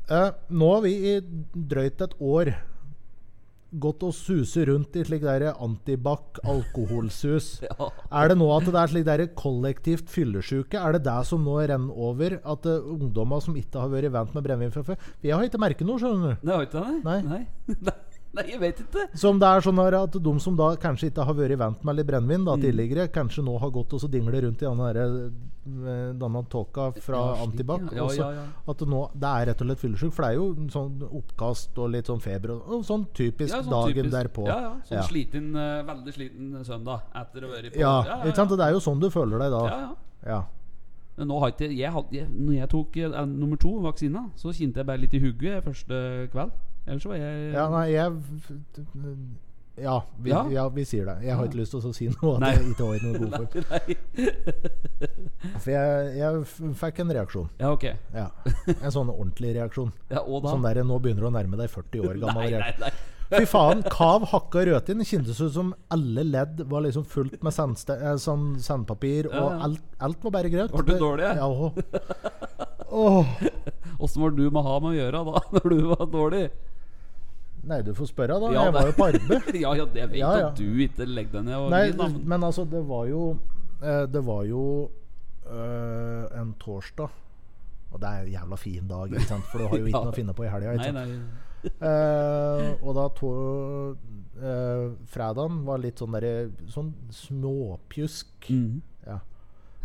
S2: Ja. Eh, nå har vi i drøyt et år gått og suser rundt i slik der antibac, alkoholsus.
S1: Ja.
S2: Er det nå at det er slik der kollektivt fyllesyke? Er det det som nå renner over? At uh, ungdommer som ikke har vært vant med brennevin fra før For jeg har ikke merket noe, skjønner du.
S1: Det har ikke det?
S2: Nei.
S1: Nei. Nei. Nei, jeg vet ikke.
S2: Som det er sånn her at de som da kanskje ikke har vært vant med litt brennevin
S1: Mm.
S2: da, tidligere, kanskje nå har gått og så dingler rundt i denne, her, eh, denne tåka fra
S1: Ja, slik,
S2: Antibac.
S1: ja. Ja,
S2: og så
S1: ja, ja.
S2: At det nå, det er rett og slett fyllesyk, for det er jo sånn oppkast og litt sånn feber og, og sånn typisk
S1: Ja, sånn
S2: dagen
S1: typisk-
S2: derpå.
S1: Ja, ja. Sånn
S2: Ja.
S1: sliten, eh, veldig sliten søndag etter å ha vært på
S2: Ja, ikke sant? Og Det er jo sånn du føler deg da.
S1: Ja, ja.
S2: Ja.
S1: Men nå har ikke jeg, hadde- jeg Når jeg tok eh, nummer to, vaksina, så kjente jeg bare litt i hugget første kveld. Ellers så var jeg
S2: Ja, nei, jeg ja vi, ja.
S1: Ja.
S2: vi sier det. Jeg har ikke lyst til å si noe.
S1: Nei.
S2: At jeg ikke var i noe god form.
S1: Nei.
S2: For jeg, jeg f- fikk en reaksjon.
S1: Ja, ok.
S2: Ja. En sånn ordentlig reaksjon.
S1: Ja, og da
S2: Sånn der, nå begynner du å nærme deg 40 år gammel
S1: Nei, nei,
S2: reaksjon.
S1: nei.
S2: Fy faen, kav, hakka rødtinn. Kjentes ut som alle ledd var liksom fullt med sandste, eh, sånn sandpapir,
S1: Ja, ja.
S2: og alt, alt var bare grøt.
S1: Var du dårlig, ja?
S2: Ja, åh. Åh.
S1: Åssen var du med å ha med å gjøre da, når du var dårlig?
S2: Nei, du får spørre, da.
S1: Ja,
S2: Jeg var jo på arbeid.
S1: ja, ja, det vet
S2: Ja, ja.
S1: at du ikke legger deg ned. Og
S2: Nei,
S1: gir, da, men-
S2: men altså, det var jo eh, Det var jo eh, en torsdag. Og det er jo en jævla fin dag, ikke sant? for du har jo ikke
S1: Ja.
S2: noe å finne på i helga. ikke
S1: nei,
S2: sant?
S1: nei.
S2: Eh, og da to, eh, Fredagen var litt sånn derre Sånn småpjusk.
S1: Mhm.
S2: Ja.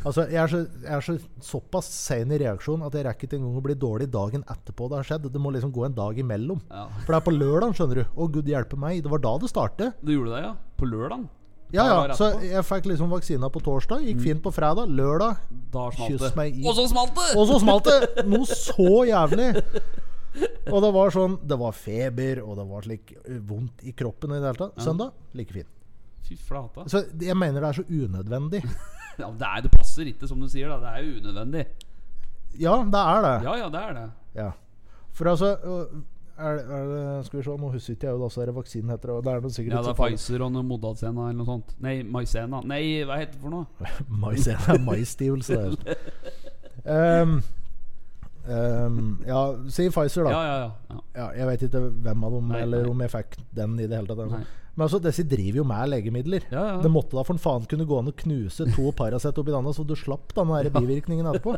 S2: Altså, jeg er, så, jeg er så, såpass sein i reaksjonen at jeg rekker ikke engang å bli dårlig dagen etterpå det har skjedd. Det må liksom gå en dag imellom.
S1: Ja.
S2: For det er på lørdag, skjønner du. Å, gud hjelpe meg. Det var da det startet.
S1: Du gjorde det, ja? På lørdag?
S2: Ja, ja.
S1: Da var det
S2: Så
S1: etterpå. Mhm.
S2: jeg fikk liksom vaksina på torsdag. Gikk fint på fredag. Lørdag.
S1: Da smalt
S2: Kyss
S1: det.
S2: meg i
S1: Og så smalt det!
S2: Og så smalt det noe så jævlig. Og det var sånn Det var feber, og det var slik eh, vondt i kroppen i det hele tatt. Søndag like fin.
S1: Fy flata.
S2: Så jeg mener det er så unødvendig.
S1: Ja, men det, er, det passer ikke, som du sier. da Det er jo unødvendig.
S2: Ja, det er det.
S1: Ja ja, det er det.
S2: Ja. For altså øh, er, det- er det, Skal vi se, nå husker ikke jeg hva altså, vaksinen heter. og Det er noe sikkert
S1: Ja,
S2: ikke
S1: det
S2: så
S1: er
S2: farlig.
S1: Pfizer og noe Modazena eller noe sånt. Nei, Maizena. Nei, hva heter det for noe?
S2: Mais det er maisstivelse. det er. Um, um, ja, si Pfizer, da.
S1: Ja,
S2: Ja.
S1: ja, ja. ja.
S2: jeg vet ikke hvem av dem,
S1: Nei,
S2: eller
S1: nei.
S2: om jeg fikk den i det hele tatt.
S1: Nei.
S2: Men altså, disse driver jo med legemidler.
S1: Ja, ja.
S2: Det måtte da for en faen kunne gå an å knuse to Paracet oppi denne, så du slapp den der bivirkningen etterpå.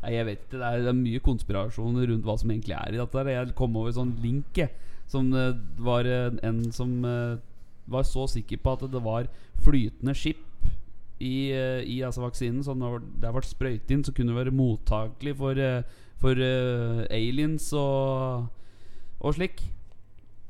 S1: Nei, jeg vet ikke. Det er, det er mye konspirasjon rundt hva som egentlig er i dette. her. Jeg kom over en sånn link jeg, som eh, var eh, en som eh, var så sikker på at det var flytende skip i, eh, i altså vaksinen. Så når det ble sprøytet inn, så kunne det være mottakelig for, eh, for eh, aliens og, og slik.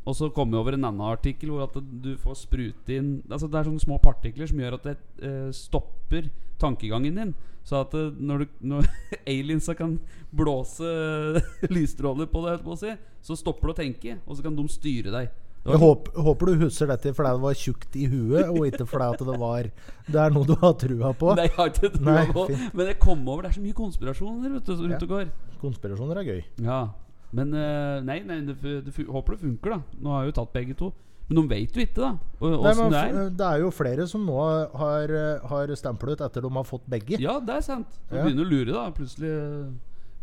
S1: Og så kom jeg over en annen artikkel hvor at du får sprute inn Altså Det er sånne små partikler som gjør at det eh, stopper tankegangen din. Så at eh, når, du, når aliensa kan blåse lysstråler på deg, holdt på å si, så stopper du å tenke, og så kan de styre deg. Det
S2: Jeg
S1: var,
S2: håper, håper du husker dette fordi det var tjukt i huet, og ikke fordi at det var Det er noe du har trua på.
S1: nei, jeg har ikke det
S2: Nei,
S1: nå,
S2: fint.
S1: men jeg kom over Det er så mye konspirasjoner vet du, som rundt og går.
S2: Konspirasjoner er gøy.
S1: Ja Men eh, nei, nei det, fu- det, fu- håper det funker, da. Nå har jeg jo tatt begge to. Men de vet jo ikke, da.
S2: Nei,
S1: Åssen
S2: men,
S1: det er.
S2: f- det er jo flere som nå har, har stemplet ut etter de har fått begge.
S1: Ja, det er sant. Du
S2: Ja.
S1: begynner å lure, da. Plutselig eh,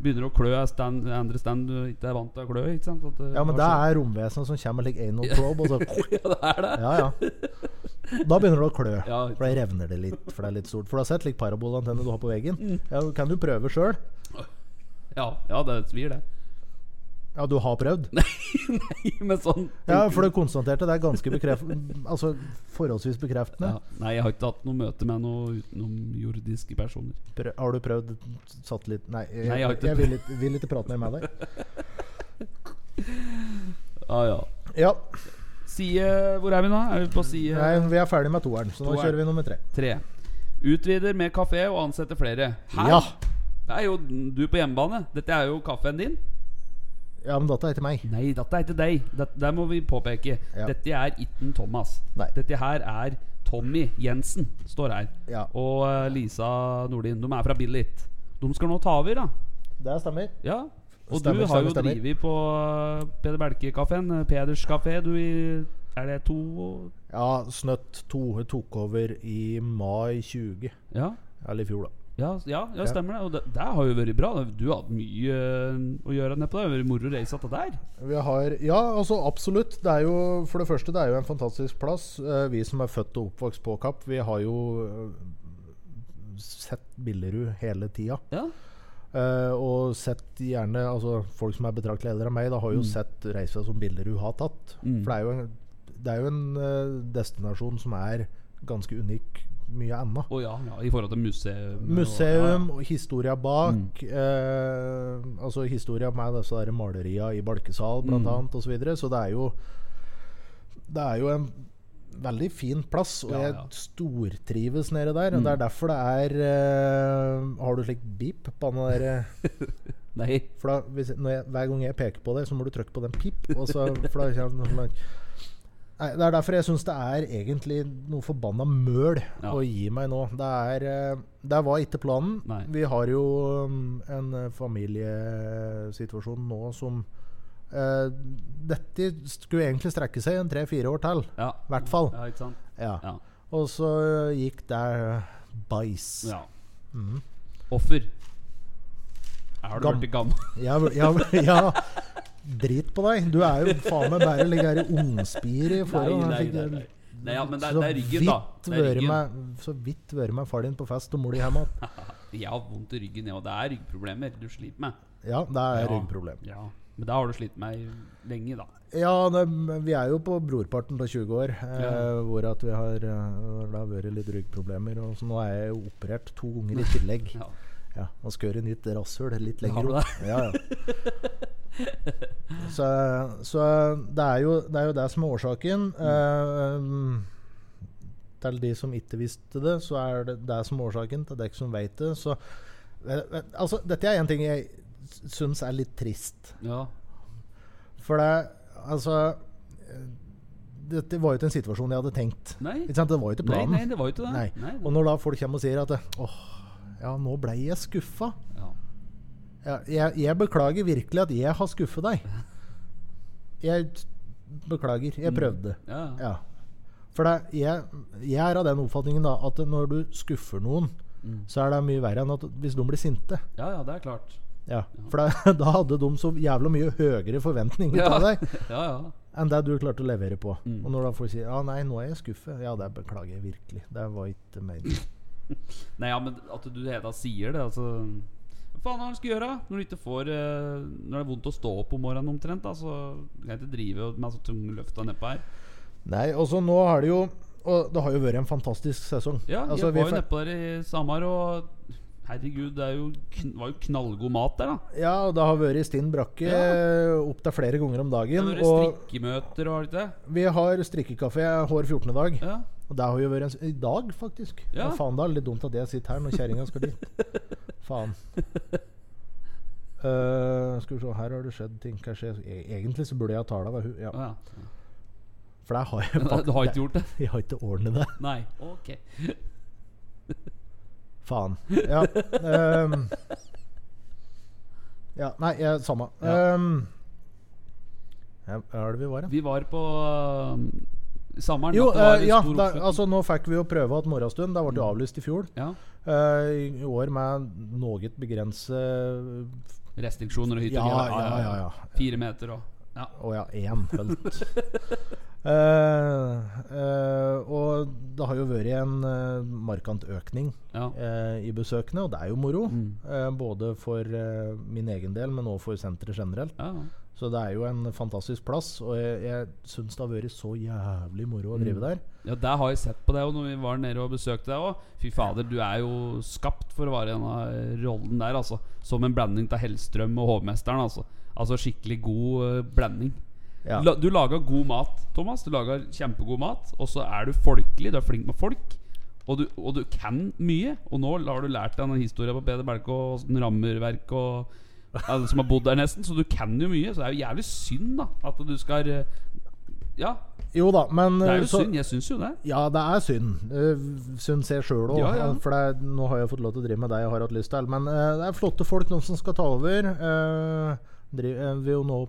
S1: begynner å klø i stand, andre stand du ikke er vant til å klø i. ikke sant? At, eh,
S2: Ja, men det er romvesenet som kommer med like anal probe, og så
S1: Ja, det er det.
S2: Ja, ja. Da begynner det å klø.
S1: Ja.
S2: For da revner det litt, for det er litt stort. For du har sett like parabolantenne du har på veggen. Ja, kan du prøve sjøl?
S1: Ja, ja det svir, det.
S2: Ja, du har prøvd?
S1: Nei, men sånn
S2: Ja, for du konstaterte det er ganske bekreft... Altså forholdsvis bekreftende.
S1: Ja. Nei, jeg har ikke hatt noe møte med noen utenomjordiske personer.
S2: Prø har du prøvd satellitt... Nei, jeg,
S1: Nei, jeg har ikke
S2: jeg vil, ikke, vil ikke prate mer med deg.
S1: Ja, ja.
S2: Ja,
S1: Side Hvor er vi nå? Er vi på side
S2: nei, vi er ferdig med toeren, så nå
S1: Toeren.
S2: kjører vi nummer tre.
S1: tre? Utvider med kafé og ansetter flere. Hæ?
S2: Ja.
S1: Det er jo du på hjemmebane. Dette er jo kaffen din.
S2: ja, men dette er ikke meg.
S1: Nei, dette er ikke deg. Det, der må vi påpeke.
S2: Ja.
S1: Dette er ikke Thomas.
S2: Nei.
S1: Dette her er Tommy Jensen, står her.
S2: Ja.
S1: Og eh, Lisa Nordin. De er fra Billit. De skal nå ta over, da.
S2: Det stemmer.
S1: Ja. Og
S2: Stemmer,
S1: du har
S2: stemmer,
S1: jo
S2: stemmer.
S1: drevet på eh, Peder Belke-kafeen. Peders kafé, du i Er det to
S2: Ja, Snøtt 2 tok over i mai 20.
S1: Ja.
S2: Eller i fjor, da.
S1: Ja, ja, ja stemmer det. Og det, det har jo vært bra. Du har hatt mye eh, å gjøre nedpå der. Det har vært moro å reise til der.
S2: Vi har, ja, altså absolutt. Det er jo, for det første, det er jo en fantastisk plass. Eh, Vi som er født og oppvokst på Kapp, vi har jo eh, sett Billerud hele tida.
S1: Ja.
S2: Eh, og sett gjerne altså Folk som er betraktelig eldre enn meg, da har jo sett reisa som Billerud har tatt. For det er jo en, det er jo en eh, destinasjon som er ganske unik mye ennå.
S1: Å ja, ja, i forhold til museum. og- Mm.
S2: Museum, og historia bak. Eh, altså historia med disse der maleria i Balkesal, blant
S1: Mm.
S2: annet, osv. Så, videre. så det er jo Det er jo en veldig fin plass, og
S1: Ja, ja. Mm.
S2: jeg stortrives nede der. Og Det er derfor det er eh, Har du slik beep på den der eh,
S1: Ja. Nei.
S2: For da, hvis, når jeg, hver gang jeg peker på det, så må du trykke på den pip, og så for da kommer den så langt. Nei, Det er derfor jeg syns det er egentlig noe forbanna møl
S1: Ja.
S2: å gi meg nå. Det, er, eh, det var ikke planen.
S1: Nei.
S2: Vi har jo mm, en eh, familiesituasjon nå som eh, Dette skulle egentlig strekke seg en tre-fire år til.
S1: Ja.
S2: I hvert fall.
S1: ja, ikke sant?
S2: Ja.
S1: Ja.
S2: Og så gikk det eh, bæsj.
S1: Ja. Offer. Har du
S2: Mhm. Gam-
S1: blitt gammel?
S2: Ja, ja, ja. Drit på deg. Du er jo faen meg bare ligger her i ungspir i forhold.
S1: nei,
S2: Jeg
S1: nei,
S2: fikk-
S1: nei. nei ja, men det,
S2: så
S1: er- det er ryggen, da.
S2: vidt
S1: Det er
S2: vært
S1: ryggen.
S2: meg- så vidt vært med far din på fest og mor di hjemme.
S1: Jeg har vondt i ryggen, ja, og det er ryggproblemer du sliter med.
S2: Ja, det er
S1: Ja.
S2: ryggproblem.
S1: Ja. Men det har du slitt med lenge, da.
S2: Ja, det, men vi er jo på brorparten av 20 år, eh,
S1: Ja.
S2: hvor at vi har, eh, hvor det har vært litt ryggproblemer. Og så nå er jeg jo operert to ganger i tillegg.
S1: Ja.
S2: Ja, Man skal gjøre nytt rasshøl litt
S1: Har
S2: lenger
S1: du
S2: opp. Ja, ja. Så, så det, er jo, det er jo det som er årsaken. Eh, til de som ikke visste det, så er det det som er årsaken. Til dere som vet det, så eh, eh, Altså, dette er en ting jeg syns er litt trist.
S1: Ja.
S2: For det Altså eh, Dette var jo ikke en situasjon jeg hadde tenkt.
S1: Nei.
S2: Ikke sant? Det var jo ikke
S1: nei,
S2: planen.
S1: nei, det var jo ikke det.
S2: Nei.
S1: Nei.
S2: Og når da folk kommer og sier at Åh, ja, nå ble jeg skuffa.
S1: Ja.
S2: Ja, jeg, jeg beklager virkelig at jeg har skuffet deg. Jeg t- beklager.
S1: Mm.
S2: Jeg prøvde.
S1: Ja, ja.
S2: Ja. For det, jeg, jeg er av den oppfatningen da at når du skuffer noen,
S1: Mm.
S2: så er det mye verre enn at hvis de blir sinte.
S1: ja, ja, det er klart.
S2: Ja. For da, da hadde de så jævla mye høyere forventninger
S1: Ja, Mm.
S2: til
S1: ja.
S2: deg
S1: ja.
S2: enn det du klarte å levere på. Og når da folk sier ja, nei, nå er jeg skuffet, ja, det beklager jeg virkelig. Det var ikke meningen.
S1: Nei, ja, men at du hele tatt sier det, altså Hva faen er det du skal gjøre? Når du ikke får eh, Når det er vondt å stå opp om morgenen omtrent, da, så kan jeg ikke drive med så tunge løfta nedpå her. Mm.
S2: Nei, og så nå har det jo Og det har jo vært en fantastisk sesong.
S1: Ja,
S2: Altså,
S1: jeg
S2: vi
S1: var jo
S2: fe-
S1: nedpå der i Samar, og herregud, det er jo kn var jo knallgod mat der, da.
S2: Ja, og det har vært stinn brakke
S1: Ja.
S2: opp opptil flere ganger om
S1: Det
S2: dagen.
S1: har vært
S2: Og
S1: strikkemøter og har det ikke det?
S2: vi har strikkekafé hver 14. dag.
S1: Ja.
S2: Og det har jo vært en s I dag, faktisk. Ja.
S1: Ja.
S2: faen, da er det litt dumt at jeg sitter her når kjerringa skal dit. faen. Eh, skal vi se, her har det skjedd ting. Kanskje jeg- e- Egentlig så burde jeg ha tala med hun ja.
S1: Å, ja.
S2: For det har jeg
S1: Du har ikke
S2: det-
S1: gjort det?
S2: Jeg har ikke ordnet det.
S1: Nei. Ok.
S2: Faen. Ja. ehm. ja nei, jeg, samme.
S1: Ja.
S2: Ehm. ja, hva er det vi var, da?
S1: Vi var på uh, Samaren.
S2: Jo,
S1: at det var
S2: eh,
S1: en
S2: ja,
S1: stor
S2: da,
S1: oppfø-
S2: altså nå fikk vi jo prøve at morgenstund. Det ble jo avlyst i fjor.
S1: ja.
S2: Eh, I i år med noe begrenset
S1: Restriksjoner og hytter
S2: Ja,
S1: og
S2: ja,
S1: greier.
S2: ja. ja.
S1: Fire meter og ja.
S2: Å ja, én hølt. Eh, eh, og det har jo vært en eh, markant økning
S1: ja.
S2: eh, i besøkende, og det er jo moro.
S1: Mm.
S2: Eh, både for eh, min egen del, men også for senteret generelt.
S1: ja.
S2: Så det er jo en fantastisk plass, og jeg, jeg syns det har vært så jævlig moro å
S1: Mm.
S2: drive der.
S1: Ja, der har jeg sett på deg og når vi var nede og besøkte deg òg. Fy fader, du er jo skapt for å være i denne rollen der, altså. Som en blanding av Hellstrøm og hovmesteren, altså. Altså skikkelig god eh, blanding.
S2: Ja.
S1: La, du lager god mat, Thomas. Du lager kjempegod mat. Og så er du folkelig, du er flink med folk. Og du, og du kan mye. Og nå har du lært deg en historie på Peder Belke og sånn rammeverk og alle som har bodd der, nesten. Så du kan jo mye. Så det er jo jævlig synd, da, at du skal eh, Ja,
S2: Jo da, men
S1: det er
S2: eh,
S1: jo
S2: så-
S1: synd. Jeg syns jo det.
S2: Ja, det er synd. Uh, syns jeg sjøl òg.
S1: Ja, ja.
S2: For det, er- nå har jeg fått lov til å drive med det jeg har hatt lyst til. Men eh, det er flotte folk, noen som skal ta over. Uh, driv, eh, vil jo nå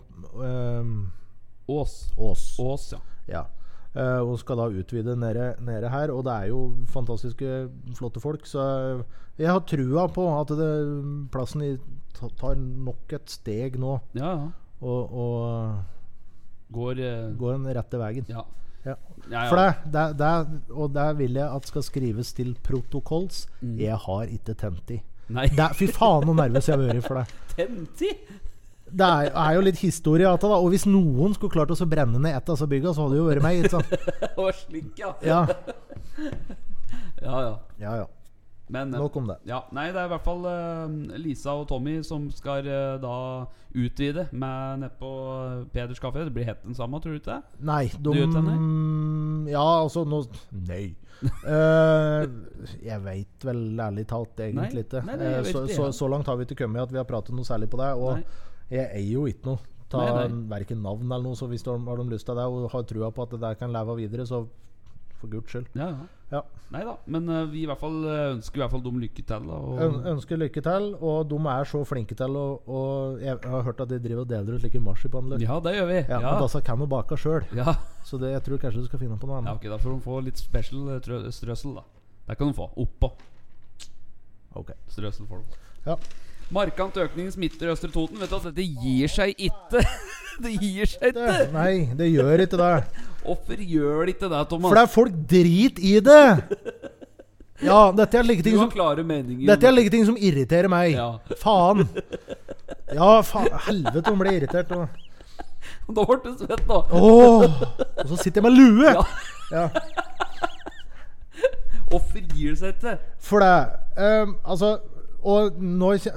S2: eh,
S1: Ås.
S2: Ås.
S1: Ås, ja.
S2: Ja. Eh, og skal da utvide nede, nede her. Og det er jo fantastiske, flotte folk. Så eh, jeg har trua på at det, plassen i, ta- tar nok et steg nå.
S1: Ja, ja.
S2: Og, og eh,
S1: Går eh,
S2: går den rette veien.
S1: Ja.
S2: Ja.
S1: Ja, ja.
S2: For det, det, det, og det vil jeg at skal skrives til protokolls. Jeg har ikke tent i.
S1: Mm. Nei,
S2: Det, er- fy faen så nervøs jeg har vært for det.
S1: Tenti!
S2: Det er, er jo litt historie av det, da. Og hvis noen skulle klart å så brenne ned et av disse bygga, så hadde det jo vært meg. Ikke sant?
S1: Det var slik, ja.
S2: Ja,
S1: Ja, ja.
S2: ja. ja.
S1: Men eh,
S2: Nok om det.
S1: Ja, nei, det er i hvert fall eh, Lisa og Tommy som skal eh, da utvide med nedpå Peders kafé. Det blir helt den samme, tror du ikke det?
S2: Nei, de
S1: gjør ikke det,
S2: Ja, altså nå Nei. Eh, jeg veit vel ærlig talt egentlig ikke.
S1: Nei, nei, jeg
S2: Eh,
S1: vet
S2: så,
S1: ikke,
S2: så,
S1: ja.
S2: så langt har vi ikke kommet at vi har pratet noe særlig på det. Og
S1: Nei.
S2: jeg eier jo ikke noe. Ta
S1: Nei,
S2: Verken navn eller noe, så hvis de har de lyst til det og har trua på at det der kan leve videre, så for guds skyld.
S1: Ja, ja.
S2: Ja.
S1: Nei da. Men eh, vi i hvert fall eh, ønsker i hvert fall dem lykke til. Da,
S2: Øn,
S1: og,
S2: ønsker lykke til, og de er så flinke til å og Jeg har hørt at de driver og deler ut slike marsipanløk.
S1: ja, det gjør vi.
S2: Ja,
S1: Ja.
S2: Men altså kan de bake sjøl,
S1: ja.
S2: så det, jeg tror kanskje du skal finne på noe
S1: ja,
S2: annet.
S1: ok, da får de få litt special eh, trø strøssel, da. Det kan de få. Oppå.
S2: Ok.
S1: Strøssel får de.
S2: Ja.
S1: Markant økning smitter Østre Toten. Vet du at dette gir seg ikke. Det gir seg ikke.
S2: Det- Nei, det gjør ikke det.
S1: Hvorfor gjør de ikke det, Thomas?
S2: For det er folk drit i det! Ja, dette er like ting
S1: du
S2: som
S1: har klare meninger.
S2: dette er like ting som irriterer meg.
S1: Ja.
S2: Faen! Ja, faen, helvete, hun ble irritert. Og,
S1: Da ble du svett, da.
S2: Åh, og så sitter jeg med lue!
S1: Ja.
S2: Ja.
S1: Offer gir seg ikke.
S2: For det ehm, Altså Og nå kje-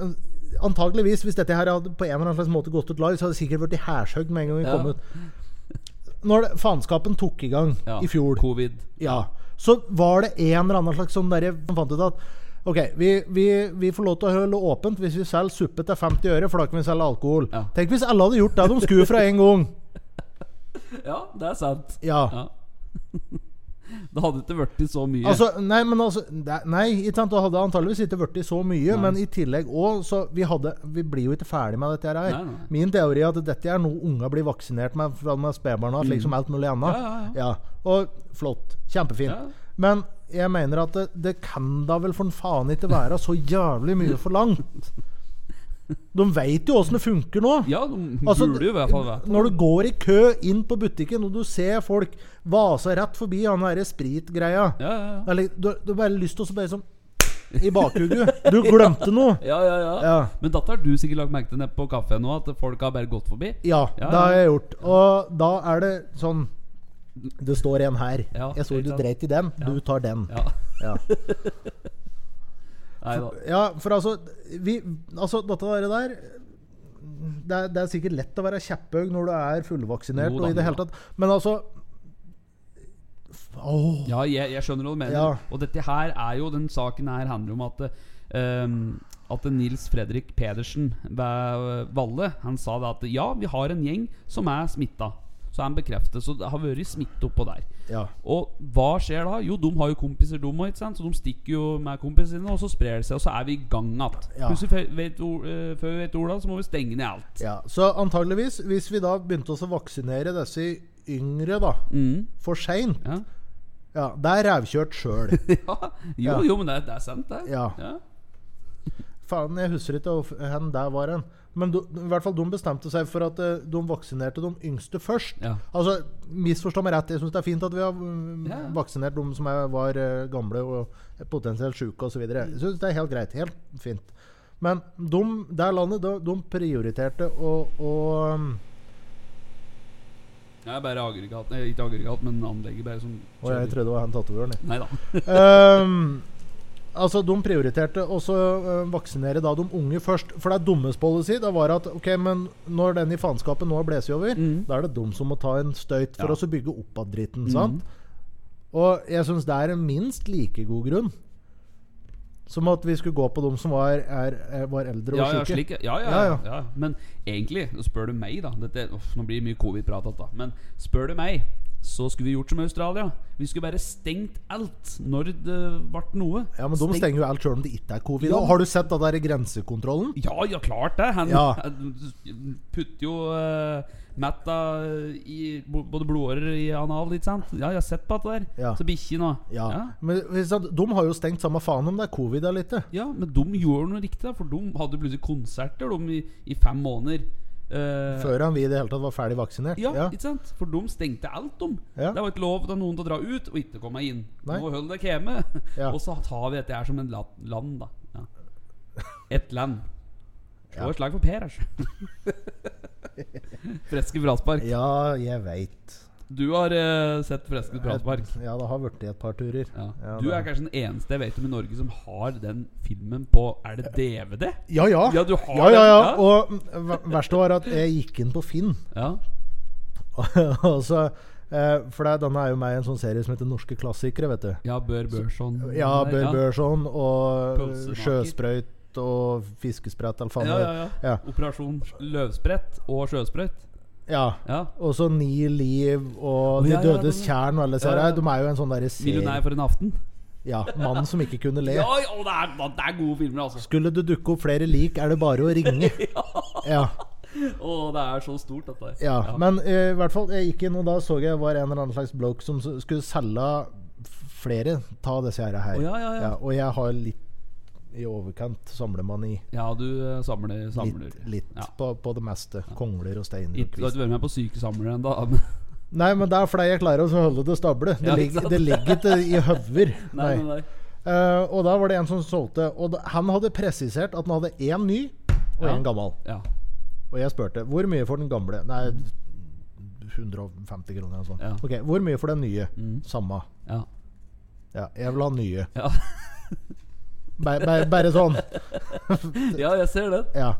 S2: Antageligvis, hvis dette her hadde på en eller annen slags måte gått ut live, så hadde det sikkert blitt hærshøgd med en gang vi
S1: Ja.
S2: kom ut. Når det, faenskapen tok i gang
S1: Ja,
S2: i fjor,
S1: Covid.
S2: ja, så var det en eller annen slags sånn derre som fant ut at OK, vi, vi, vi får lov til å holde åpent hvis vi selger suppe til 50 øre, for da kan vi selge alkohol.
S1: Ja.
S2: Tenk hvis alle hadde gjort det de skulle fra en gang.
S1: Ja, det er sant.
S2: Ja.
S1: Ja. Det hadde ikke blitt så mye.
S2: Altså, nei, men altså det- Nei, ikke sant? Det hadde antageligvis ikke blitt så mye, men i tillegg òg, så vi hadde Vi blir jo ikke ferdig med dette her.
S1: Nei, nei.
S2: Min teori er at dette er noe unga blir vaksinert med fra de er spedbarna, slik som alt mulig annet.
S1: Mm. Ja, ja,
S2: Og flott. Kjempefint.
S1: Ja.
S2: Men jeg mener at det, det kan da vel for faen ikke være så jævlig mye forlangt. De veit jo åssen det funker nå.
S1: ja, de
S2: Altså,
S1: burde jo i hvert fall vært
S2: Når du går i kø inn på butikken og du ser folk vase rett forbi han derre spritgreia
S1: Ja, ja, ja.
S2: eller, du, du har bare lyst til å så bare sånn I bakhugget. Du glemte noe.
S1: Ja, ja, ja.
S2: Ja.
S1: Men dette har du sikkert lagt merke til nede på kafeen nå, at folk har bare gått forbi.
S2: Ja,
S1: Ja,
S2: det har
S1: ja.
S2: jeg gjort. Og da er det sånn Det står en her.
S1: Ja,
S2: jeg så
S1: ikke
S2: du
S1: sant?
S2: dreit i den. Du tar den.
S1: Ja. Nei
S2: Ja.
S1: da.
S2: ja, for altså vi, Altså, dette der, der det er, det er sikkert lett å være kjepphøg når du er fullvaksinert
S1: Jo da,
S2: og i det
S1: jo
S2: hele tatt, men altså Åh.
S1: Ja, jeg, jeg skjønner hva du mener.
S2: Ja.
S1: Og dette her er jo den saken her handler om at ehm, At Nils Fredrik Pedersen ved Valle Han sa det at ja, vi har en gjeng som er smitta. Så er han bekreftet. Så det har vært smitte oppå der.
S2: Ja.
S1: Og hva skjer da? Jo, de har jo kompiser, de òg, ikke sant? så de stikker jo med kompisene sine, og så sprer det seg, og så er vi i gang igjen.
S2: Ja.
S1: Plutselig fe- vet or- eh, Før vi vet ordet av det, så må vi stenge ned alt.
S2: Ja, så antageligvis, hvis vi da begynte oss å vaksinere disse yngre da,
S1: Mm.
S2: for seint
S1: Ja.
S2: ja, Det er rævkjørt sjøl.
S1: ja. Jo,
S2: Ja.
S1: jo, men det, er- det er sant, det.
S2: Ja.
S1: Ja.
S2: Faen, jeg husker ikke hvor hen der var hen. Men do, i hvert fall de bestemte seg for at eh, de vaksinerte de yngste først.
S1: Ja.
S2: Altså, Misforstå meg rett, jeg syns det er fint at vi har mm,
S1: Ja.
S2: vaksinert de som er, var eh, gamle og potensielt sjuke osv. Jeg syns det er helt greit. Helt fint. Men de, det landet, de, de prioriterte å, å um,
S1: Det er bare aggregat eh, Ikke aggregat, men anlegget bare sånn som
S2: Og jeg trodde det var han tatovøren, jeg.
S1: Nei da.
S2: Ehm, altså, de prioriterte også eh, vaksinere da de unge først. For det er dummes policy. Det var at ok, men når den i faenskapen nå har blåst over,
S1: Mm.
S2: da er det dem som må ta en støyt for
S1: Ja. Mm.
S2: oss å bygge opp av dritten. Sant? Og jeg syns det er en minst like god grunn som at vi skulle gå på dem som var, er, er, var eldre og
S1: Ja, ja,
S2: syke.
S1: slik, ja, ja,
S2: Ja,
S1: ja,
S2: ja.
S1: ja. Men egentlig, spør du meg, da dette, uff, Nå blir det mye covid-prat, alt da. Men spør du meg, så skulle vi gjort som Australia. Vi skulle bare stengt alt når det ble noe.
S2: Ja, men de
S1: Stengt-
S2: stenger jo alt sjøl om det ikke er covid.
S1: Ja.
S2: Og Har du sett den der grensekontrollen?
S1: Ja, ja, klart det. Han
S2: Ja.
S1: han putter jo eh, Matta i bo- både blodårer i anal, ikke sant? Ja, jeg har sett på det der.
S2: Ja.
S1: Så bikkje nå.
S2: Ja.
S1: ja.
S2: Men hvis at- de har jo stengt samme faen om det er covid eller ikke.
S1: Ja, men de gjorde noe riktig, da, for de hadde plutselig konserter de, i, i fem måneder. Eh,
S2: Før han vi i det hele tatt var ferdig vaksinert.
S1: Ja, ikke sant? For de stengte alt, de.
S2: Ja.
S1: Det var ikke lov til noen til å dra ut og ikke komme inn.
S2: Nei.
S1: Nå hold dere hjemme.
S2: Ja.
S1: Og så tar vi dette her som en la- land, da. Ja. Et land. Slå
S2: Ja.
S1: et slag for Per, altså. Freske fraspark.
S2: Ja, jeg veit.
S1: Du har eh, sett freske fraspark.
S2: Ja, det har blitt et par turer.
S1: Ja.
S2: Ja,
S1: Du
S2: det-
S1: er kanskje den eneste jeg vet om i Norge som har den filmen på Er det DVD?
S2: Ja, ja.
S1: Ja, du har
S2: ja, ja, ja.
S1: den, ja.
S2: Og mm, ver- verste var at jeg gikk inn på Finn.
S1: Ja.
S2: og så, eh, for det, denne er jo meg i en sånn serie som heter Norske klassikere, vet du.
S1: Ja, Bør Børson.
S2: Ja, Bør Børson og
S1: Pølsemaker.
S2: sjøsprøyt og fiskesprett, eller faen.
S1: Ja, ja, ja.
S2: ja.
S1: Operasjon Løvsprett og Sjøsprøyt.
S2: Ja.
S1: Ja.
S2: Og så Ni liv og
S1: Å,
S2: De
S1: ja, ja,
S2: dødes
S1: den-
S2: tjern og alle disse
S1: Ja,
S2: her.
S1: ja.
S2: De er jo en sånn derre serie.
S1: Millionær for en aften.
S2: Ja, Mannen som ikke kunne le.
S1: Ja, ja det, er, det er gode filmer, altså.
S2: Skulle det dukke opp flere lik, er det bare å ringe. ja.
S1: Å, det er så stort, dette. her.
S2: Ja, men eh, i hvert fall Jeg gikk inn, og da så jeg var en eller annen slags bloke som s- skulle selge f- flere av disse her. her.
S1: Å, ja, ja, ja.
S2: og jeg har litt i overkant samlemani.
S1: ja du eh, samler, samler.
S2: Litt, litt
S1: Ja.
S2: på, på det meste. Kongler og steiner.
S1: Ikke, du
S2: Og
S1: har
S2: kvist.
S1: ikke vært med på Sykesamlere ennå?
S2: Nei, men det er fordi jeg klarer å holde det stable. Det,
S1: Ja, ikke
S2: ligger,
S1: sant?
S2: det ligger ikke i høver.
S1: Nei,
S2: Nei.
S1: nei, nei.
S2: Eh, og da var det en som solgte. Og da, han hadde presisert at han hadde én ny og
S1: Ja.
S2: én gammel.
S1: Ja.
S2: Og jeg spurte hvor mye for den gamle Nei, 150 kroner eller noe sånt.
S1: Ja. Mm.
S2: Ok, hvor mye for den nye? Samme.
S1: Ja.
S2: Ja, jeg vil ha den nye.
S1: Ja.
S2: Bare, bare, bare sånn.
S1: ja, jeg ser den.
S2: Ja.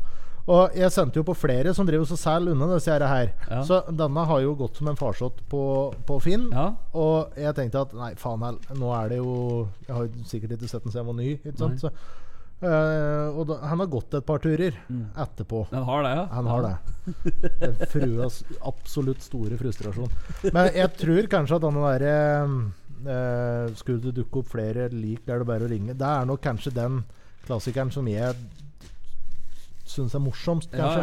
S2: Og jeg sendte jo på flere som driver og selger unna disse her. her.
S1: Ja.
S2: Så denne har jo gått som en farsott på, på Finn.
S1: Ja.
S2: Og jeg tenkte at nei, faen hell, nå er det jo Jeg har jo sikkert ikke sett den siden jeg var ny. Ikke sant? Så, eh, og da, han har gått et par turer etterpå.
S1: Den har det, Mm. ja.
S2: Han har det. Den fruas absolutt store frustrasjon. Men jeg tror kanskje at denne derre eh, Skulle det dukke opp flere lik, er det bare å ringe. Det er nok kanskje den klassikeren som jeg syns er morsomst,
S1: Ja,
S2: kanskje.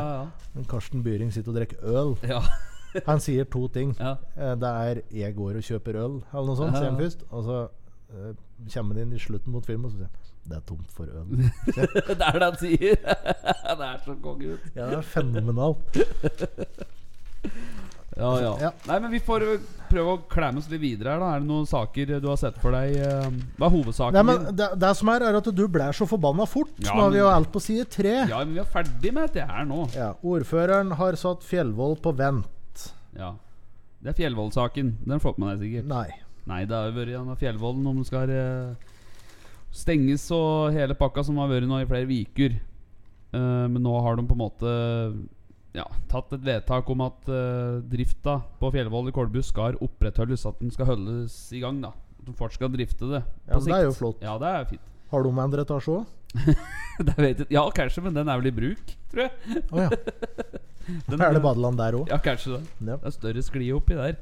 S1: ja,
S2: Karsten Byring sitter og drikker øl.
S1: ja. ja.
S2: Han sier to ting.
S1: ja.
S2: Eh, Det er 'jeg går og kjøper øl', eller noe sånt,
S1: Ja,
S2: sier han
S1: ja.
S2: først. Og så eh, kommer han inn i slutten mot filmen og så sier han 'det er tomt for øl'.
S1: Det er det han sier. det er så konge ut.
S2: Ja, det er fenomenalt.
S1: Ja, ja.
S2: Ja.
S1: Nei, men vi får eh, prøve å klemme oss litt videre her, da. Er det noen saker du har sett for deg? eh, Hva er hovedsaken
S2: Nei, men
S1: din?
S2: det, det som er, er at du blir så forbanna fort.
S1: Ja,
S2: Nå har vi jo
S1: men-
S2: alt på side tre. Ja.
S1: Ja, men vi er ferdig med dette her nå.
S2: ordføreren har satt Fjellvoll på vent.
S1: Ja. Det er Fjellvoll-saken. Den får du med deg sikkert.
S2: Nei.
S1: Nei, det har jo vært denne fjellvollen om den skal eh, stenges og hele pakka som har vært nå i flere uker. Eh, men nå har de på en måte ja, tatt et vedtak om at eh, drifta på Fjellvoll i Kolbu skal opprettholdes. At den skal holdes i gang. da At de fortsatt skal drifte det.
S2: Ja,
S1: på
S2: men det er
S1: sikt.
S2: jo flott.
S1: Ja, det er fint.
S2: Har du endret etasje òg?
S1: det vet jeg. Ja, kanskje, men den er vel i bruk, tror jeg.
S2: Å ja.
S1: Den,
S2: Er det badeland der òg?
S1: Ja, kanskje det.
S2: Ja.
S1: Det er større skli oppi der.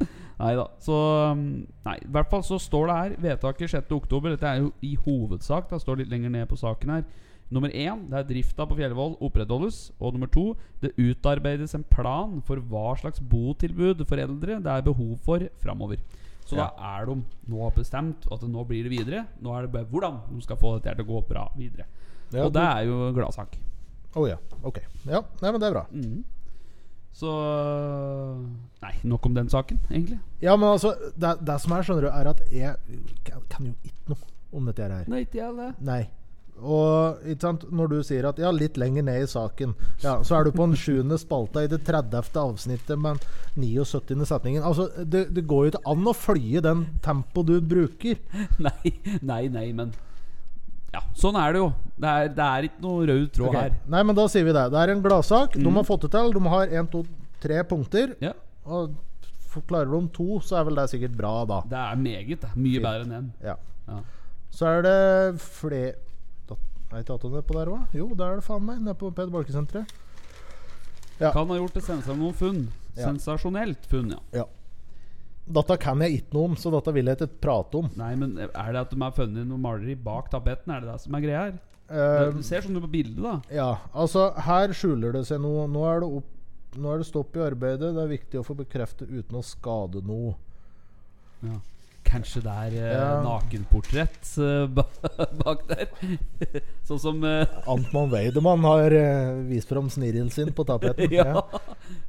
S1: nei da. Så um, Nei, i hvert fall så står det her vedtaket 6.10. Dette er jo i hovedsak. Det står litt lenger ned på saken her. Nummer én, det er drifta på Fjellvoll opprettholdes. Og nummer to, det utarbeides en plan for hva slags botilbud for eldre det er behov for framover. Så da er de nå bestemt at nå blir det videre. Nå er det bare hvordan de skal få dette her til å gå bra videre.
S2: Ja,
S1: og det er jo en gladsak.
S2: Å ja. Ok. Ja, Nei, men det er bra.
S1: Mhm. Så Nei, nok om den saken, egentlig.
S2: Ja, men altså, det, det som er, skjønner du, er at jeg kan, kan jo ikke noe om dette her.
S1: Nei, ikke jeg det.
S2: Nei. Og ikke sant, når du sier at ja, litt lenger ned i saken, ja, så er du på den sjuende spalta i det 30. avsnittet, men 79. setningen Altså, det, det går jo ikke an å følge den tempo du bruker.
S1: Nei, nei, nei, men Ja, sånn er det jo. Det er, det er ikke noe rød tråd
S2: Ok.
S1: her.
S2: Nei, men da sier vi det. Det er en gladsak. De har fått det til. De har én, to, tre punkter.
S1: Mm. Ja,
S2: Og f- klarer de to, så er vel det sikkert bra, da.
S1: Det er meget. Det. Mye bedre enn en.
S2: Ja.
S1: Ja.
S2: Så er det flere Er ikke Aton nedpå der òg? Jo, der er det faen meg. Nede på Peder Balkesenteret. Ja.
S1: Kan ha gjort det sensa noen funn.
S2: Ja.
S1: Sensasjonelt funn, ja.
S2: Ja. Dette kan jeg ikke noe om, så dette vil jeg ikke prate om.
S1: Nei, men eh, er det at de har funnet noe maleri bak tapeten? Er det det som er greia her?
S2: Eh,
S1: du ser sånn ut på bildet, da.
S2: ja, altså her skjuler det seg noe. Nå er det, opp, nå er det stopp i arbeidet. Det er viktig å få bekreftet uten å skade noe.
S1: Ja. Kanskje det er eh,
S2: Ja.
S1: nakenportrett eh, ba- bak der? sånn som eh,
S2: Antmann Weidemann har eh, vist fram snirren sin på tapeten.
S1: Ja.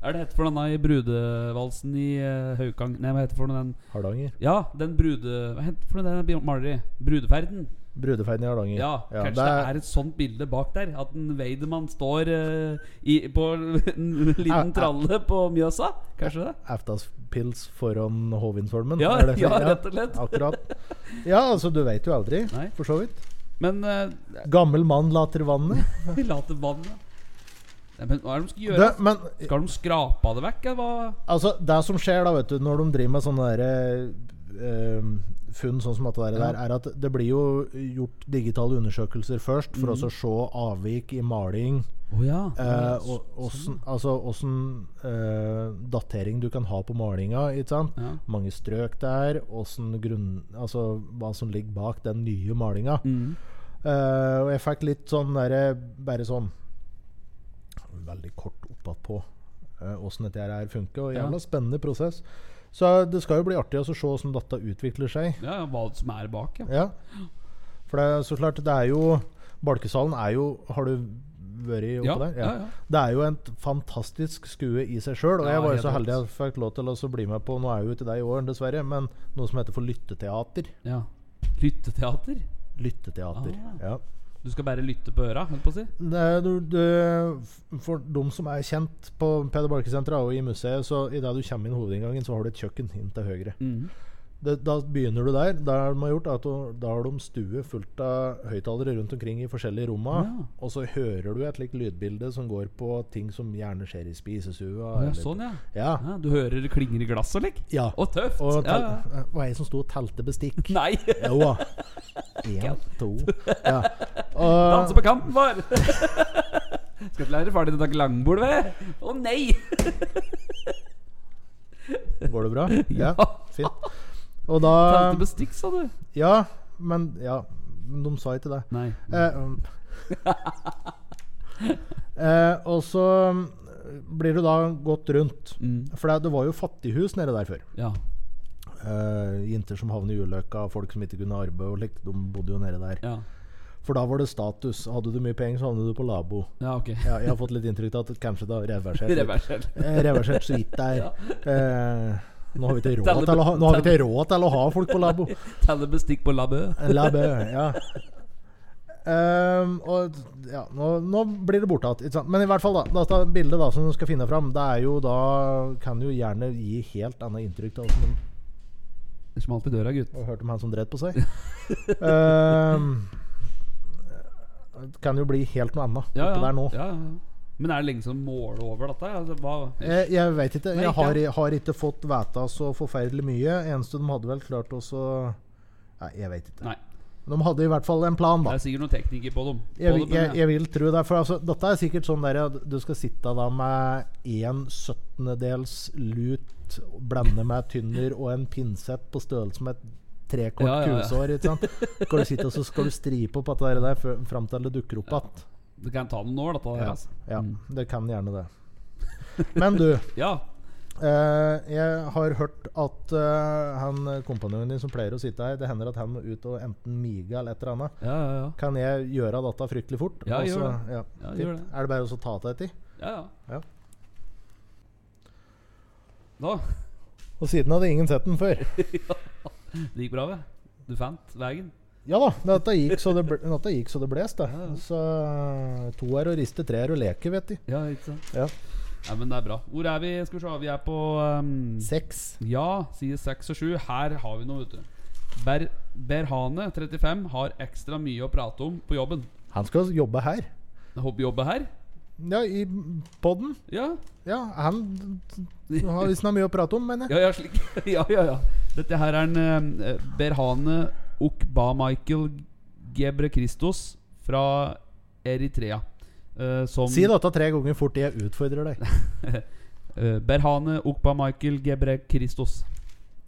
S1: Er det hette for denne i brudevalsen i eh, Haukang Nei, hva heter for noe den
S2: Hardanger.
S1: Ja, den brude... Hva heter for noe den maleri? Brudeferden?
S2: Brudeferden i Hardanger.
S1: Ja, kanskje
S2: det er,
S1: det er et sånt bilde bak der? At en Weidemann står eh, i, på en
S2: Er- er-
S1: liten tralle på Mjøsa? Kanskje det?
S2: Eftas pils foran Hovinformen.
S1: Ja,
S2: Sånn er det
S1: ja,
S2: sier?
S1: rett og slett.
S2: Akkurat. Ja, altså, du veit jo aldri,
S1: Nei.
S2: for så vidt.
S1: Men eh,
S2: Gammel mann later vannet.
S1: vi later vannet Nei, Men hva er det de skal gjøre?
S2: Det, men
S1: Skal de skrape det vekk, eller hva?
S2: Altså, det som skjer da, vet du, når de driver med sånne der, eh, funn sånn som dette der,
S1: Ja.
S2: der, er at det blir jo gjort digitale undersøkelser først for også å se avvik i maling.
S1: Å Mm. ja. sånn.
S2: eh, og, åssen- altså åssen eh, datering du kan ha på malinga. Ikke sant?
S1: Ja.
S2: Mange strøk der. Åssen grunn... Altså hva som ligger bak den nye malinga.
S1: Mm.
S2: Eh, og jeg fikk litt sånn derre Bare sånn Veldig kort oppatpå åssen dette her funker. Og
S1: Ja.
S2: jævla spennende prosess. Så det skal jo bli artig å se hvordan dette utvikler seg.
S1: ja, ja, hva som er bak, ja.
S2: Ja. For det er så klart, det er jo Balkesalen er jo Har du vært oppe
S1: Ja,
S2: der?
S1: ja, ja.
S2: Det er jo et fantastisk skue i seg sjøl. Og
S1: Ja,
S2: jeg var jo
S1: helt
S2: så heldig
S1: rått.
S2: jeg fikk lov til å så bli med på Nå er jeg jo ikke deg i år, dessverre, men noe som heter for lytteteater.
S1: ja. Lytteteater?
S2: Lytteteater.
S1: Ah.
S2: Ja.
S1: Du skal bare lytte på øra, holdt på å si?
S2: Nei, du, du, for de som er kjent på Peder Barkesenteret og i museet, så idet du kommer inn hovedinngangen, så har du et kjøkken inn til høyre.
S1: Mhm.
S2: Det, da begynner du der. Da har de gjort at du- Da har de stue fullt av høyttalere rundt omkring i forskjellige romma.
S1: Ja.
S2: Og så hører du et slikt lydbilde som går på ting som gjerne skjer i spisestua.
S1: Å, ja,
S2: eller-
S1: sånn, ja.
S2: ja.
S1: ja. Du hører det klinger i glasset, eller?
S2: ja.
S1: Å, tøft!
S2: Og
S1: ja,
S2: tel,
S1: ja.
S2: var jeg som sto og telte bestikk.
S1: Nei!
S2: Jo da. Én, to ja.
S1: Danse
S2: Og,
S1: på kanten, far! Skal ikke lære far din å snakke langbord, ved? Å nei!
S2: Går det bra? Ja,
S1: Ja.
S2: fint. Og
S1: Talte
S2: da
S1: bestikk, sa du?
S2: Ja, men Ja, men de sa ikke det.
S1: Nei.
S2: Eh, um. eh, og så um, blir du da gått rundt.
S1: Mm.
S2: For det, det var jo fattighus nede der før.
S1: Ja.
S2: Eh, jenter som havnet i ulykka, folk som ikke kunne arbeide og likt, de bodde jo nede der.
S1: Ja,
S2: For da var det status. Hadde du mye penger, så havnet du på labo.
S1: ja ok.
S2: Ja, jeg har fått litt inntrykk av at kanskje det har reversert. litt.
S1: Reversert.
S2: Eh, reversert så vidt der. Eh, nå har vi ikke råd
S1: Telle-
S2: til å ha, nå har vi ikke råd til å ha folk på labo.
S1: Talle bestikk på labø.
S2: La bø, ja. Ehm, og ja, nå, nå blir det borte igjen. ikke sant? Men i hvert fall, da. Dette bildet da som du skal finne fram, det er jo da kan jo gjerne gi helt annet inntrykk av som en-
S1: Det smalt i døra, gutt.
S2: og hørte om han som dreit på seg. Ehm, det kan jo bli helt noe annet
S1: Ja,
S2: oppi
S1: ja.
S2: der nå.
S1: ja, ja. Men er det lenge som måler over dette? Altså, hva?
S2: Jeg, Eh, jeg veit ikke.
S1: Nei,
S2: Jeg har,
S1: ikke.
S2: har ikke fått vite så forferdelig mye. Eneste de hadde vel klart også Nei, jeg veit ikke.
S1: Nei.
S2: De hadde i hvert fall en plan, da.
S1: Det er sikkert noen teknikker på dem. På
S2: Jeg, vil-
S1: dem, men
S2: jeg, jeg vil tro det. For altså, dette er sikkert sånn der at du skal sitte da med en syttendedels lut, blande med tynner og en pinsett på størrelse med et trekort
S1: Ja, ja, ja.
S2: kusår. Ikke sant? Skal du sitte og så skal du stripe opp at det der før- fram til det dukker opp igjen.
S1: Du kan ta noen år, dette.
S2: Ja.
S1: Altså.
S2: ja, det kan gjerne det. Men du,
S1: Ja.
S2: eh, jeg har hørt at eh, han kompanjongen din som pleier å sitte her, det hender at han må ut og enten mige eller et eller annet.
S1: Ja, ja, ja.
S2: Kan jeg gjøre dette fryktelig fort?
S1: Ja,
S2: Og så-
S1: gjør
S2: Ja.
S1: Ja,
S2: Fint.
S1: gjør det.
S2: Er det bare å så ta til etter?
S1: ja, ja.
S2: Ja.
S1: Da.
S2: Og siden hadde ingen sett den før.
S1: Det gikk bra, vel? Du fant veien?
S2: Ja da, dette gikk så det, ble, dette gikk så det blest, det.
S1: Ja, ja.
S2: Så eh, to er å riste, tre er å leke, vet du.
S1: Ja, ikke sant?
S2: Ja.
S1: Nei, men det er bra. Hvor er vi? Skal vi se, vi er på um,
S2: Seks.
S1: Ja, side 6 og 7. Her har vi noe, vet du. Ber Berhane, 35, har ekstra mye å prate om på jobben.
S2: Han skal jobbe her.
S1: Hobbyjobbe her?
S2: Ja, i podden.
S1: Ja.
S2: Ja, han har visst noe mye å prate om, mener jeg.
S1: Ja, ja, slik. ja, ja, ja. Dette her er en eh, Berhane Okba-Michael Gebre Christos fra Eritrea. eh, som
S2: Si dette tre ganger fort, jeg utfordrer deg.
S1: eh, Berhane Okba-Michael Gebre Christos.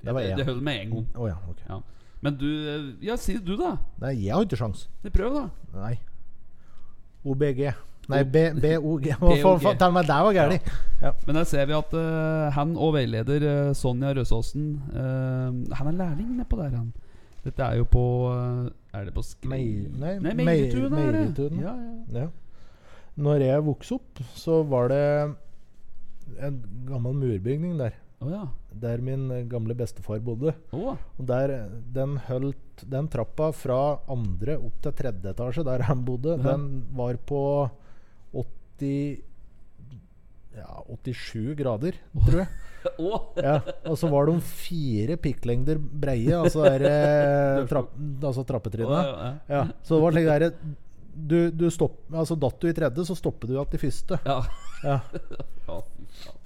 S2: Det var jeg.
S1: Det holder med en gang.
S2: Å ja, ok.
S1: Ja. Men du eh, Ja, si det du, da.
S2: Nei, jeg har ikke sjans.
S1: Prøv, da.
S2: Nei. OBG. Nei, B- BOG. Hva
S1: BOG.
S2: faen- faen, Tell meg, det var gærent.
S1: Men der ser vi at eh, han og veileder eh, Sonja Røsåsen eh, Han er lærling nedpå der, han. Dette er jo på eh, Er det på Skri...
S2: Mei- nei,
S1: nei
S2: Mei-
S1: Meiritun er det.
S2: Meiritun.
S1: Ja, ja.
S2: Ja. Når jeg vokste opp, så var det en gammel murbygning der.
S1: Å ja.
S2: Der min eh, gamle bestefar bodde.
S1: Å,
S2: Og der, eh, den, holdt, den trappa fra andre opp til tredje etasje, der han bodde,
S1: Ja.
S2: den var på 80 ja, 87 grader, tror jeg.
S1: Å,
S2: Ja. Og så var de fire pikklengder breie, altså, der, eh, trapp, altså
S1: å,
S2: trappetrinnet.
S1: ja, ja.
S2: Ja, så det var slik der du, du stopp, altså Datt du i tredje, så stoppet du igjen i første.
S1: Ja.
S2: Ja.
S1: Ja, fy faen.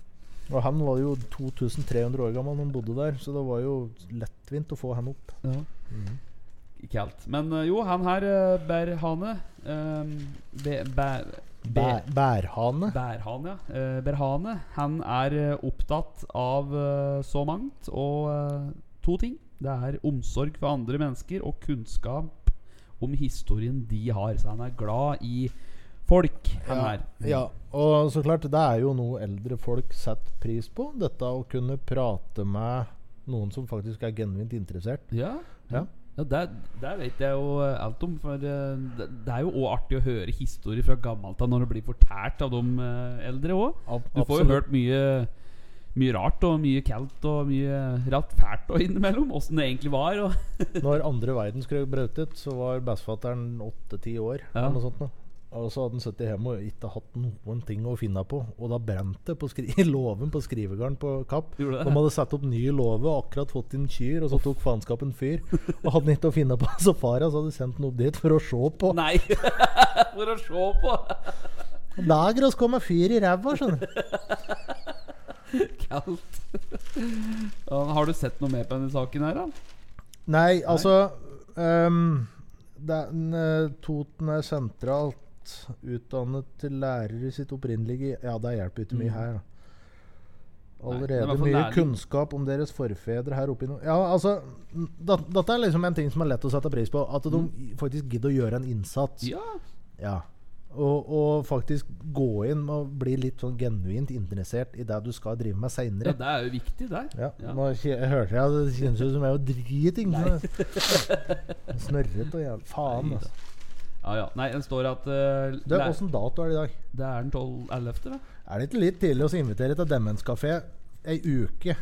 S2: Og han var jo 2300 år gammel når han bodde der, så det var jo lettvint å få han opp.
S1: Ja.
S2: Mhm.
S1: Ikke helt. Men eh, jo, han her, eh, Berhane eh, Be, bær,
S2: Bæ, bærhane.
S1: Bærhane, ja. Eh, Berhane. Han er eh, opptatt av eh, så mangt, og eh, to ting. Det er omsorg for andre mennesker og kunnskap om historien de har. Så han er glad i folk, han her.
S2: Ja, og så klart, det er jo noe eldre folk setter pris på. Dette å kunne prate med noen som faktisk er genuint interessert.
S1: Ja,
S2: Ja.
S1: ja der, der vet jeg jo eh, alt om. For eh, det, det er jo òg artig å høre historier fra gammelt av når det blir fortalt av de eh, eldre òg.
S2: Ab-
S1: Du får jo
S2: absolutt.
S1: hørt mye mye rart og mye kaldt og mye rart fælt og innimellom. Åssen det egentlig var. Og
S2: Når andre verdenskrig brøt ut, så var bestefatteren åtte-ti år.
S1: Ja.
S2: Eller noe sånt noe. Og så hadde han sittet hjemme og ikke hatt noen ting å finne på. Og da brant det på skri i låven på skrivegarden på Kapp. De
S1: Gjorde det?
S2: hadde satt opp ny låve og akkurat fått inn kyr, og så tok faenskapen fyr. Og hadde han ikke å finne på, så fara så hadde sendt han opp dit for å se på.
S1: Nei! For å se på!
S2: Lager oss gå med fyr i ræva, skjønner du.
S1: Kaldt. Ja, Har du sett noe mer på denne saken her, da?
S2: Nei, altså ehm, det er en, eh, Toten er sentralt utdannet til lærer i sitt opprinnelige Ja, det hjelper ikke mye her. da.
S1: Mm. Nei, det er i
S2: Allerede
S1: hvert fall
S2: mye
S1: læring.
S2: kunnskap om deres forfedre her oppe i nord... Ja, altså n- dat, Dette er liksom en ting som er lett å sette pris på. At de faktisk gidder å gjøre en innsats.
S1: Mm. Ja.
S2: Ja. Og, og faktisk gå inn og bli litt sånn genuint interessert i det du skal drive med
S1: ja,
S2: seinere.
S1: det er jo viktig, der.
S2: Ja,
S1: Ja.
S2: nå kje- jeg hørte jeg at det kjennes ut som jeg var driting. Snørret og jævlig Faen, altså.
S1: Ja, ja. Nei, det står at eh,
S2: Du,
S1: lær-
S2: Åssen dato er det i dag?
S1: Det er den 12. 11., da.
S2: Er det ikke litt tidlig å invitere til demenskafé ei uke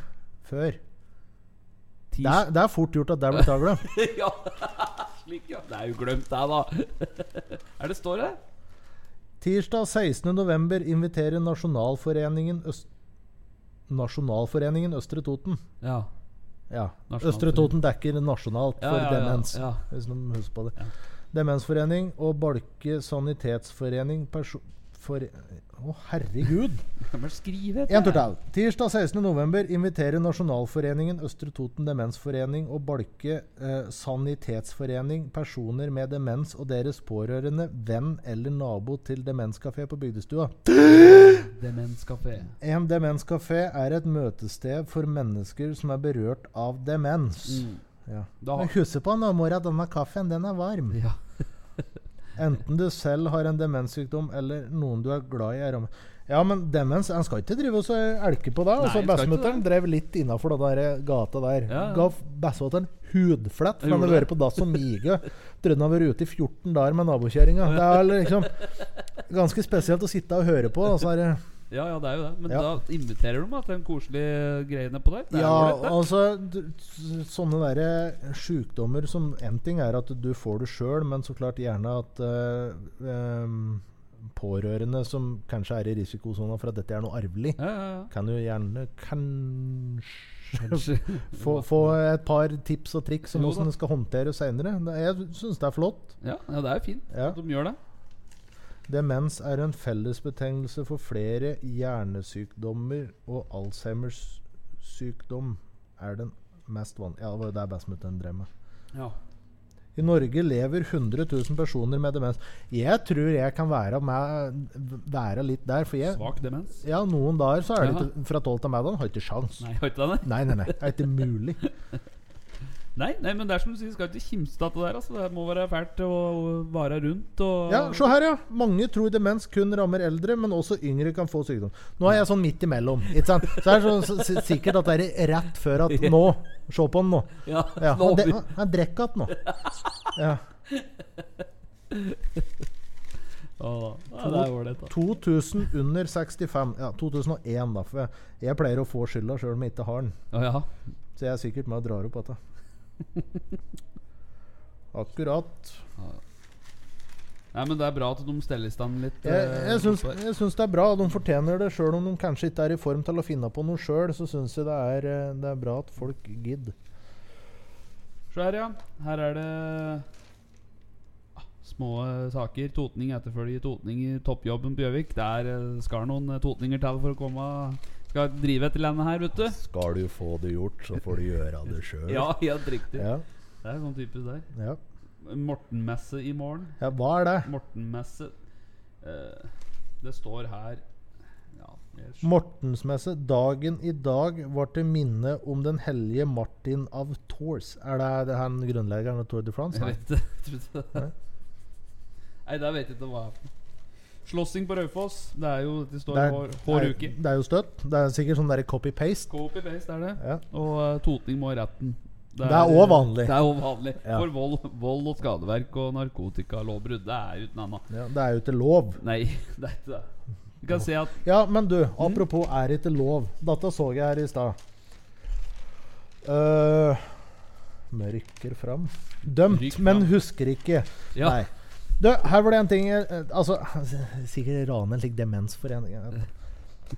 S2: før? Det er, det er fort gjort at det blir tagla.
S1: ja. Slik, ja. Det er jo glemt, det, da. er det står det?
S2: Tirsdag 16.11. inviterer Nasjonalforeningen Øst... Nasjonalforeningen Østre Toten.
S1: Ja.
S2: Ja.
S1: Nasjonalforening.
S2: Østre Toten dekker nasjonalt
S1: Ja,
S2: for
S1: ja, ja,
S2: demens.
S1: ja.
S2: Hvis noen husker på det. Demensforening og Balke sanitetsforening perso... For... Å, herregud!
S1: Kan vel skrive
S2: En tur til. Tirsdag 16.11. inviterer Nasjonalforeningen, Østre Toten demensforening og Balke eh, sanitetsforening personer med demens og deres pårørende, venn eller nabo til demenskafé på Bygdestua.
S1: Demenskafé.
S2: En demenskafé er et møtested for mennesker som er berørt av demens.
S1: Mm.
S2: Ja.
S1: Da-
S2: Men husk på nå, mor, at denne kaffen den er varm.
S1: Ja.
S2: Enten du selv har en demenssykdom eller noen du er glad i er rammet. Ja, men demens En skal ikke drive og så elke på det.
S1: Nei, en
S2: Altså,
S1: skal ikke
S2: Bestemutteren drev litt innafor den der eh, gata der.
S1: Ja, ja.
S2: Ga bestemutteren hudflett for
S1: Jeg
S2: han hadde
S1: gjorde
S2: vært på dass som mige. Trodde han hadde vært ute i 14 dager med nabokjerringa. Det er liksom ganske spesielt å sitte og høre på. da, så er det
S1: ja, ja, det er jo det. Men
S2: Ja.
S1: da inviterer de da, til den koselige greiene på der. Det er
S2: Ja,
S1: jo litt, det.
S2: altså d- s- Sånne derre sjukdommer som En ting er at du får det sjøl, men så klart gjerne at eh, em, pårørende som kanskje er i risikosona for at dette er noe arvelig,
S1: Ja, ja, ja.
S2: kan jo gjerne kanskje
S1: Kanskje.
S2: få, få et par tips og triks om
S1: Jo da.
S2: hvordan det skal håndteres seinere. Jeg syns det er flott.
S1: Ja, ja, det er jo fint
S2: Ja.
S1: at de gjør det.
S2: Demens er en fellesbetegnelse for flere hjernesykdommer, og Alzheimers sykdom er den mest vanlige Ja, det var jo det bestemutteren drev med.
S1: Ja.
S2: I Norge lever 100 000 personer med demens. Jeg tror jeg kan være, med, være litt der, for jeg
S1: Svak demens.
S2: Ja, noen dager så er det
S1: Ja.
S2: ikke Fra 12 til middag har jeg ikke sjans.
S1: Nei, hørte du det?
S2: Nei, nei, nei. Det er ikke mulig.
S1: Nei, nei, men det er som du sier, skal ikke kimse av det der. Altså. Det må være fælt å være rundt og
S2: Ja, Se her, ja. Mange tror demens kun rammer eldre, men også yngre kan få sykdom. Nå er jeg sånn midt imellom. Ikke sant? Så er det sånn s- s- sikkert at det er rett før at Nå! Se på han nå.
S1: Ja,
S2: Ja,
S1: nå,
S2: han, de, han drikker igjen nå. Ja.
S1: Å, ja, det er ålreit, da.
S2: 2000 under 65. Ja, 2001, da. For jeg, jeg pleier å få skylda sjøl om jeg ikke har den.
S1: Å, ja.
S2: Så jeg er sikkert med og drar opp dette. Akkurat.
S1: Nei, men det er bra at de steller i stand litt.
S2: Jeg,
S1: eh,
S2: jeg, syns,
S1: oppå her.
S2: jeg syns det er bra. De fortjener det. Sjøl om de kanskje ikke er i form til å finne på noe sjøl, så syns jeg det er, eh, det er bra at folk gidder.
S1: Se her, ja. Her er det ah, små eh, saker. Totning etterfølger totning i toppjobben på Gjøvik. Der eh, skal noen eh, totninger til for å komme Skal drive etter landet her, vet du.
S2: Skal du få det gjort, så får du gjøre det sjøl.
S1: Ja, helt riktig.
S2: Ja,
S1: Det er sånn typisk der.
S2: ja.
S1: Mortenmesse i morgen.
S2: ja, hva er det?
S1: Mortenmesse eh, Det står her Ja, jeg skj-
S2: Mortensmesse. Dagen i dag var til minne om den hellige Martin av Tours. Er det, det han grunnleggeren av Tour de France?
S1: jeg
S2: Nei.
S1: vet det. Jeg trodde det. Nei, der vet jeg ikke hva det er for noe. Slåssing på Raufoss. Det er jo Det står
S2: Det er-
S1: hår,
S2: det
S1: hår
S2: er-
S1: uke.
S2: Det er jo støtt. Det er sikkert sånn derre copy-paste.
S1: Copy-paste er det.
S2: Ja.
S1: Og eh, totning må i retten.
S2: Det er òg vanlig.
S1: Det er også vanlig
S2: Ja.
S1: For vold, vold og skadeverk og narkotikalovbrudd. Det er uten annet.
S2: Ja, det er jo ikke lov.
S1: Nei, det er ikke det. Vi kan se at
S2: Ja, men du, apropos er ikke lov. Dette så jeg her i stad. Eh, mørker fram. Dømt,
S1: Rykk
S2: men
S1: fram.
S2: husker ikke.
S1: Ja.
S2: Nei. Du, her var det en ting jeg- eh, Altså, sikkert rane en slik demensforening. jeg vet.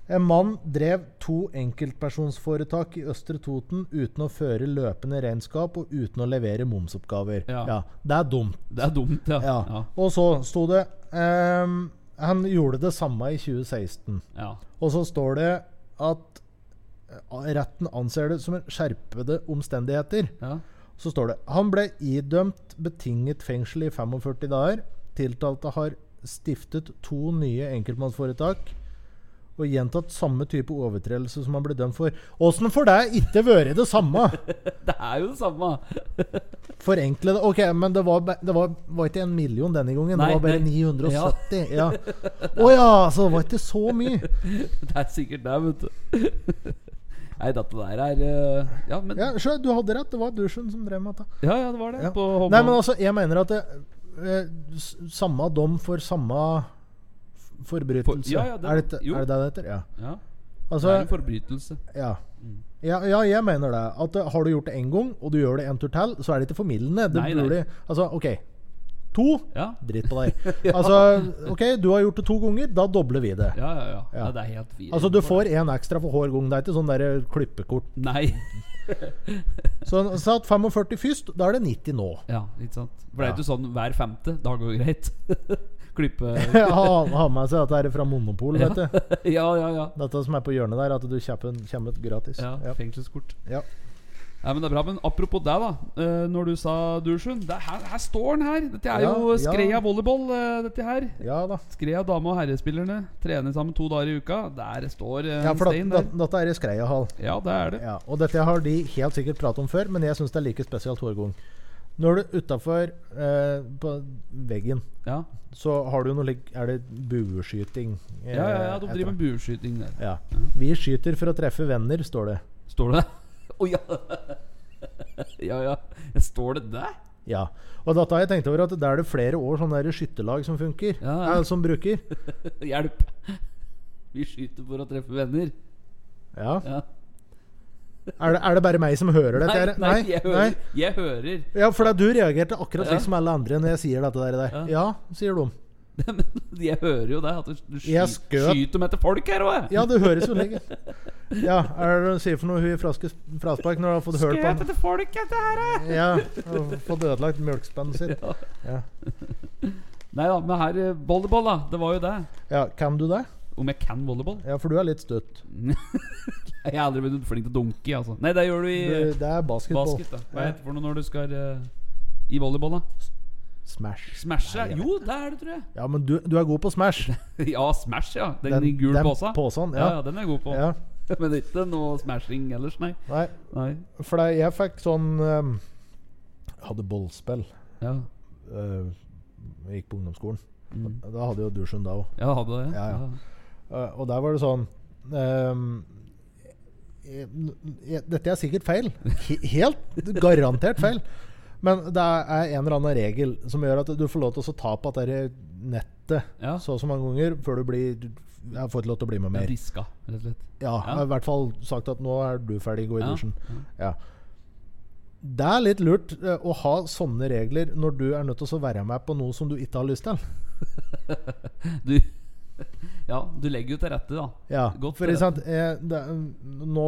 S2: En mann drev to enkeltpersonsforetak i Østre Toten uten å føre løpende regnskap og uten å levere momsoppgaver.
S1: Ja.
S2: ja det er dumt.
S1: det er dumt, ja.
S2: Ja.
S1: Ja.
S2: Og så sto det ehm, Han gjorde det samme i 2016.
S1: ja.
S2: Og så står det at eh, retten anser det som en skjerpede omstendigheter.
S1: ja.
S2: Så står det Han ble idømt betinget fengsel i 45 dager. Tiltalte har stiftet to nye enkeltmannsforetak og gjentatt samme type overtredelse som han ble dømt for. Åssen får det ikke vært det samme?
S1: Det er jo det samme.
S2: Forenkle det. Ok, men det var, ba- det var, var ikke en million denne gangen.
S1: Nei,
S2: det var bare
S1: nei.
S2: 970. Ja. Å ja, så det var ikke så mye.
S1: Det er sikkert det, vet du. Nei, dette der er eh, Ja, men
S2: Ja,
S1: Ja,
S2: sjø, du hadde rett. Det var dusjen som drev med dette.
S1: ja, det var det.
S2: Ja.
S1: På
S2: Nei,
S1: Hovman.
S2: men altså, jeg mener at det, eh, s- samme dom for samme f- forbrytelse.
S1: For- ja, ja, det-
S2: er, det,
S1: jo.
S2: er det det det heter? Ja.
S1: ja. Det
S2: Altså,
S1: er Mm. en forbrytelse.
S2: ja. Ja, ja, jeg mener det. At eh, Har du gjort det én gang, og du gjør det en tur til, så er det ikke formildende. Det
S1: Nei, nei.
S2: burde, altså, OK. To.
S1: Ja.
S2: Dritt på deg. Altså, OK, du har gjort det to ganger. Da dobler vi det.
S1: Ja, ja, ja.
S2: Ja.
S1: Nei, det er helt fint.
S2: Altså, du får én ekstra for hver gang. Det er ikke sånn der klippekort.
S1: Nei.
S2: Så han satt 45 først, da er det 90 nå.
S1: Ja, ikke sant. For det
S2: Ja.
S1: er ikke sånn hver femte. Da går det greit. Klippe
S2: Ha ha med seg dette her fra Monopol, vet du.
S1: Ja, ja, ja.
S2: Dette som er på hjørnet der, at du kjøper kommer ut gratis.
S1: ja,
S2: Ja.
S1: Fengselskort.
S2: Ja.
S1: Nei, men det er bra, men Apropos deg, da. eh, når du sa dusjen det er her, her står den her! Dette er
S2: Ja,
S1: jo
S2: ja.
S1: Skreia volleyball. eh, dette her
S2: ja da.
S1: Skreia dame- og herrespillerne trener sammen to dager i uka. Der står eh,
S2: Ja,
S1: en
S2: for det,
S1: stein
S2: det,
S1: der.
S2: dette er i Skreiahall.
S1: Ja, det er det.
S2: Ja, og dette har de helt sikkert pratet om før, men jeg syns det er like spesielt hver gang. Når du utafor eh, på veggen,
S1: Ja,
S2: så har du noe lik- Er det bueskyting? eh,
S1: ja, ja, ja de driver med
S2: etter-
S1: bueskyting der.
S2: ja. Vi skyter for å treffe venner, står det.
S1: Står det der? Å ja. ja, ja. Står det der?
S2: Ja. Og dette har jeg tenkt over at det er det flere år sånne der skytterlag som funker.
S1: Ja, ja.
S2: eh, Som bruker.
S1: Hjelp! Vi skyter for å treffe venner.
S2: Ja.
S1: Ja.
S2: Er, det, er det bare meg som hører dette? her?
S1: nei, jeg hører. Jeg hører.
S2: Ja, for da du reagerte akkurat
S1: Ja.
S2: slik som alle andre når jeg sier dette der. der. Ja. sier de.
S1: Men jeg hører jo det. At du sky,
S2: Jeg skjøt.
S1: skyter med etter folk her òg.
S2: Ja, det høres jo like Ja, er det du sier for noe hun i fraske, fraspark når du har fått hørt på
S1: Skjøt
S2: den?
S1: etter folk, dette her. eh.
S2: Ja, og fått ødelagt mjølkspennet sitt. Ja.
S1: Nei da, men her eh, Volleyball, da. Det var jo det.
S2: ja, kan du det?
S1: Om jeg kan volleyball?
S2: Ja, for du er litt støtt.
S1: Jeg er aldri blitt flink til å dunke i, altså. Nei, det gjør du i
S2: Du,
S1: eh,
S2: det er basketball.
S1: basket. da Hva
S2: Ja.
S1: heter det for noe når du skal eh, i volleyball, da?
S2: Smash.
S1: Smashe?
S2: Nei, jeg
S1: Jo, det er det, tror jeg.
S2: Ja, men du, du er god på smash.
S1: Ja, Smash, ja. Den,
S2: Den-
S1: i gul
S2: den
S1: påsa.
S2: påsen, ja.
S1: ja. ja, den er jeg god på.
S2: Ja.
S1: Men det er ikke noe smashing ellers, nei.
S2: Nei,
S1: nei.
S2: for det, jeg fikk sånn ehm, Hadde bollspill.
S1: Ja.
S2: eh, jeg gikk på ungdomsskolen.
S1: Mm.
S2: Da hadde jo dusjen da òg.
S1: ja, hadde det.
S2: Ja, ja. Eh, og der var det sånn ehm, eh, n- n- Dette er sikkert feil. He- Helt garantert feil. Men det er en eller annen regel som gjør at du får lov til å ta på dette nettet
S1: Ja.
S2: så og så mange ganger før du blir du jeg får ikke lov til å bli med
S1: Jeg
S2: mer.
S1: diska, rett og slett.
S2: Ja, jeg har i hvert fall sagt at nå er du ferdig, gå i
S1: Ja,
S2: dusjen. Ja. Det er litt lurt eh, å ha sånne regler når du er nødt til å være med på noe som du ikke har lyst til.
S1: Du Ja, du legger jo til rette, da.
S2: Ja,
S1: Godt
S2: for
S1: til
S2: ikke sant eh, det, Nå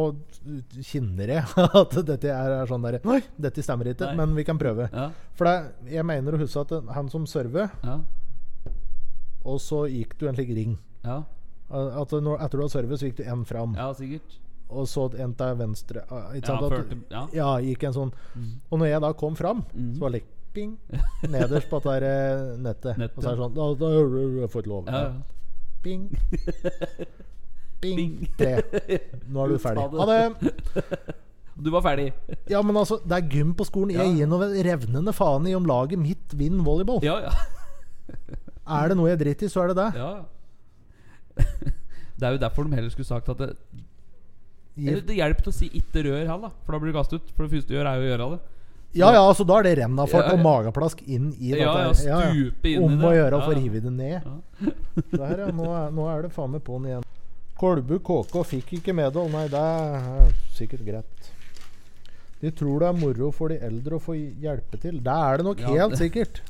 S2: kjenner jeg at dette er, er sånn der Nei, dette stemmer ikke,
S1: Nei.
S2: men vi kan prøve.
S1: Ja,
S2: For det, jeg mener å huske at han som server,
S1: ja,
S2: og så gikk du en slik ring.
S1: ja,
S2: At når, etter du har servet, så gikk du en fram,
S1: ja sikkert.
S2: og så en til venstre. eh, Ikke
S1: Ja,
S2: sant? at,
S1: førte- Mm. ja.
S2: ja, gikk en sånn. Og når jeg da kom fram, så var det like, ping, nederst på dette her, eh, nettet.
S1: Nettet.
S2: Og så er det sånn Da, da har du fått lov.
S1: Ja, ja.
S2: Ping. Ping.
S1: Ping.
S2: Tre. Nå er du ferdig.
S1: Ta
S2: Ha
S1: det.
S2: det.
S1: Du var ferdig.
S2: Ja, men altså, det er gym på skolen. Jeg
S1: Ja.
S2: gir noe revnende faen i om laget mitt vinner volleyball.
S1: Ja, ja.
S2: Er det noe jeg driter i, så er det det.
S1: ja. Det er jo derfor de heller skulle sagt at det,
S2: Gi-
S1: eller det hjelper til å si 'ikke rør' her, da. For da blir du kastet ut. For det første du gjør, er jo å gjøre det.
S2: Ja ja, altså da er det rennafart
S1: Ja, ja.
S2: og mageplask inn i dette.
S1: Ja, ja,
S2: her.
S1: stupe inn i
S2: Om å
S1: det.
S2: gjøre å
S1: Ja,
S2: få
S1: ja.
S2: rive det ned. Det her, ja, nå, er, nå er det faen meg på'n igjen. Kolbu KK fikk ikke medhold. Nei, det er sikkert greit. De tror det er moro for de eldre å få hjelpe til. Det er det nok
S1: Ja,
S2: helt
S1: det-
S2: sikkert.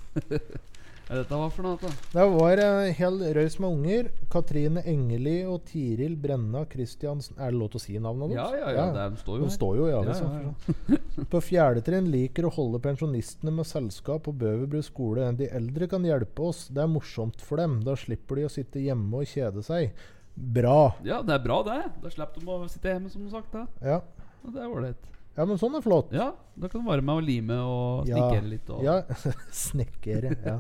S1: Hva er dette var for noe? da?
S2: Det var en hel røys med unger. Katrine Engeli og Tiril Brenna Christiansen Er det lov til å si navnet
S1: Ja,
S2: deres?
S1: ja, ja, det er- den står jo
S2: De
S1: her.
S2: står jo i
S1: ja,
S2: avisa.
S1: ja.
S2: På fjerde trinn liker å holde pensjonistene med selskap på Bøverbru skole. De eldre kan hjelpe oss, det er morsomt for dem. Da slipper de å sitte hjemme og kjede seg. Bra.
S1: Ja, det er bra, det. Da slipper de å sitte hjemme, som sagt. Da.
S2: Ja,
S1: Og det er ålreit.
S2: ja men sånn er flott.
S1: Ja, da kan du være med og lime og
S2: Ja.
S1: snikkere litt. Og.
S2: Ja. Snekkere. Ja.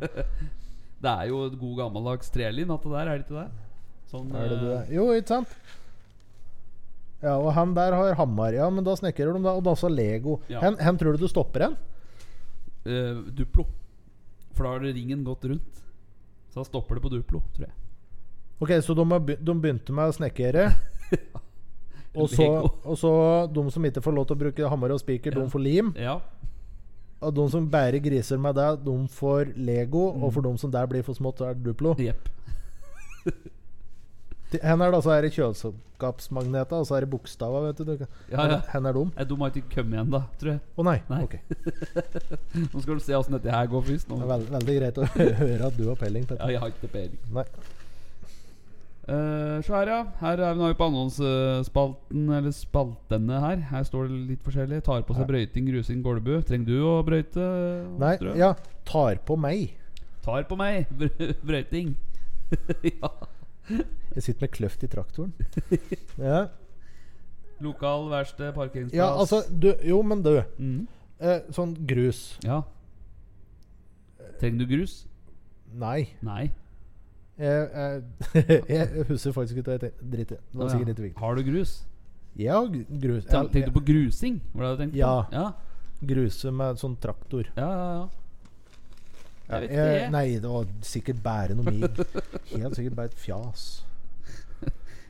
S1: Det er jo et god gammeldags trelin, at det der, er det ikke det? Sånn,
S2: Er det
S1: eh,
S2: det? Jo, ikke sant? Ja, og han der har hammer. Ja, men da snekrer de, da. Og da så Lego.
S1: Ja.
S2: Hen, hen tror du du stopper hen?
S1: eh, Duplo. For da har ringen gått rundt. Så da stopper det på Duplo, tror jeg.
S2: Ok, så de, har be- de begynte med å snekkere. Og så,
S1: Lego.
S2: og så de som ikke får lov til å bruke hammer og spiker, de får lim.
S1: Ja.
S2: Og de som bærer griser med det, de får Lego.
S1: Mm.
S2: Og for de som der blir for smått, så er det Duplo.
S1: Jepp.
S2: Til- Hen er det altså her i kjøleskapsmagneter, og så er det bokstaver, vet du. du. kan-
S1: Ja, ja.
S2: Hen er dum.
S1: Eh, De har ikke kommet igjen, da, tror jeg.
S2: Å nei.
S1: Nei.
S2: Ok. Det
S1: Nå skal du se åssen dette her går først.
S2: er
S1: Nå.
S2: veld, veldig greit å høre at du har peiling på
S1: Ja,
S2: dette.
S1: jeg har ikke peiling.
S2: Nei.
S1: Eh, så her, ja. Her er vi nå på annonsespalten, eller spaltene her. Her står det litt forskjellig. Tar på seg brøyting, grusing, Golbu. Trenger du å brøyte?
S2: nei.
S1: Strø?
S2: Ja, tar på meg.
S1: Tar på meg br- brøyting. ja.
S2: Jeg sitter med kløft i traktoren. Ja,
S1: Lokal verksted, parkeringsplass.
S2: ja altså du, Jo, men du.
S1: Mhm.
S2: Eh, sånn grus.
S1: Ja. Trenger du grus?
S2: Nei.
S1: Nei.
S2: Jeg, jeg, jeg husker faktisk ikke hva jeg tenkte. Drit i det. Det var
S1: Å,
S2: sikkert
S1: ja.
S2: ikke viktig.
S1: Har du grus?
S2: Ja, grus.
S1: Ten- Tenkte du på grusing? Var det det du tenkte
S2: Ja.
S1: på? Ja.
S2: gruse med sånn traktor.
S1: Ja, ja, ja. Jeg vet ikke,
S2: Eh,
S1: jeg.
S2: Nei, det var sikkert bare noe mig. Helt sikkert bare et fjas.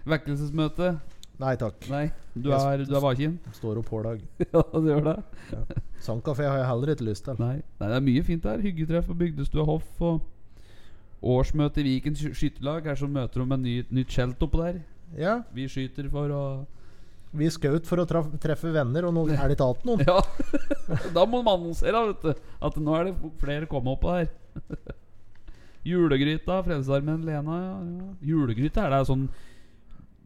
S1: Vekkelsesmøte?
S2: Nei takk.
S1: Nei. Du
S2: Jeg
S1: er, du er vaken?
S2: Står opp hver dag.
S1: ja, du gjør det?
S2: Sandkafé har jeg heller ikke lyst til.
S1: Nei. Nei, det er mye fint der. Hyggetreff på Bygdestua Hoff og årsmøte i Viken sky- skytterlag. Her så møter de med ny, nytt skjelt oppå der.
S2: Ja,
S1: Vi skyter for å
S2: vi skaut for å traf- treffe venner, og nå er det ikke alt noen.
S1: Ja! da må man annonsere, vet du. At nå er det flere komme oppå der. Julegryta, Frelsesarmeen, Lena ja, ja. Julegryta er det sånn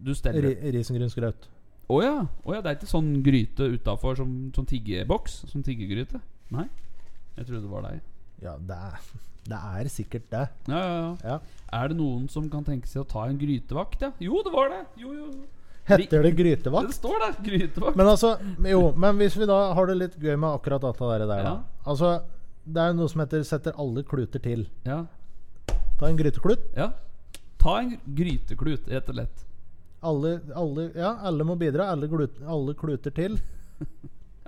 S1: du steller
S2: Ri- Risengrynsgrøt.
S1: Å ja. Å ja, det er ikke sånn gryte utafor som, som tiggeboks? Som tiggegryte? Nei? Jeg trodde det var deg.
S2: Ja, det er, det er sikkert det.
S1: Ja, ja, ja.
S2: Ja.
S1: Er det noen som kan tenke seg å ta en grytevakt? Ja? Jo, det var det! Jo, jo.
S2: Heter det
S1: Det
S2: grytevakt?
S1: står der! Grytevakt.
S2: Men altså, jo, men hvis vi da har det litt gøy med akkurat dette der, der da.
S1: Ja.
S2: Altså, det er noe som heter 'setter alle kluter til'.
S1: Ja.
S2: Ta en gryteklut.
S1: ja. Ta en gryteklut, rett og slett.
S2: Alle, alle, ja, alle må bidra. Alle, glut, alle kluter til.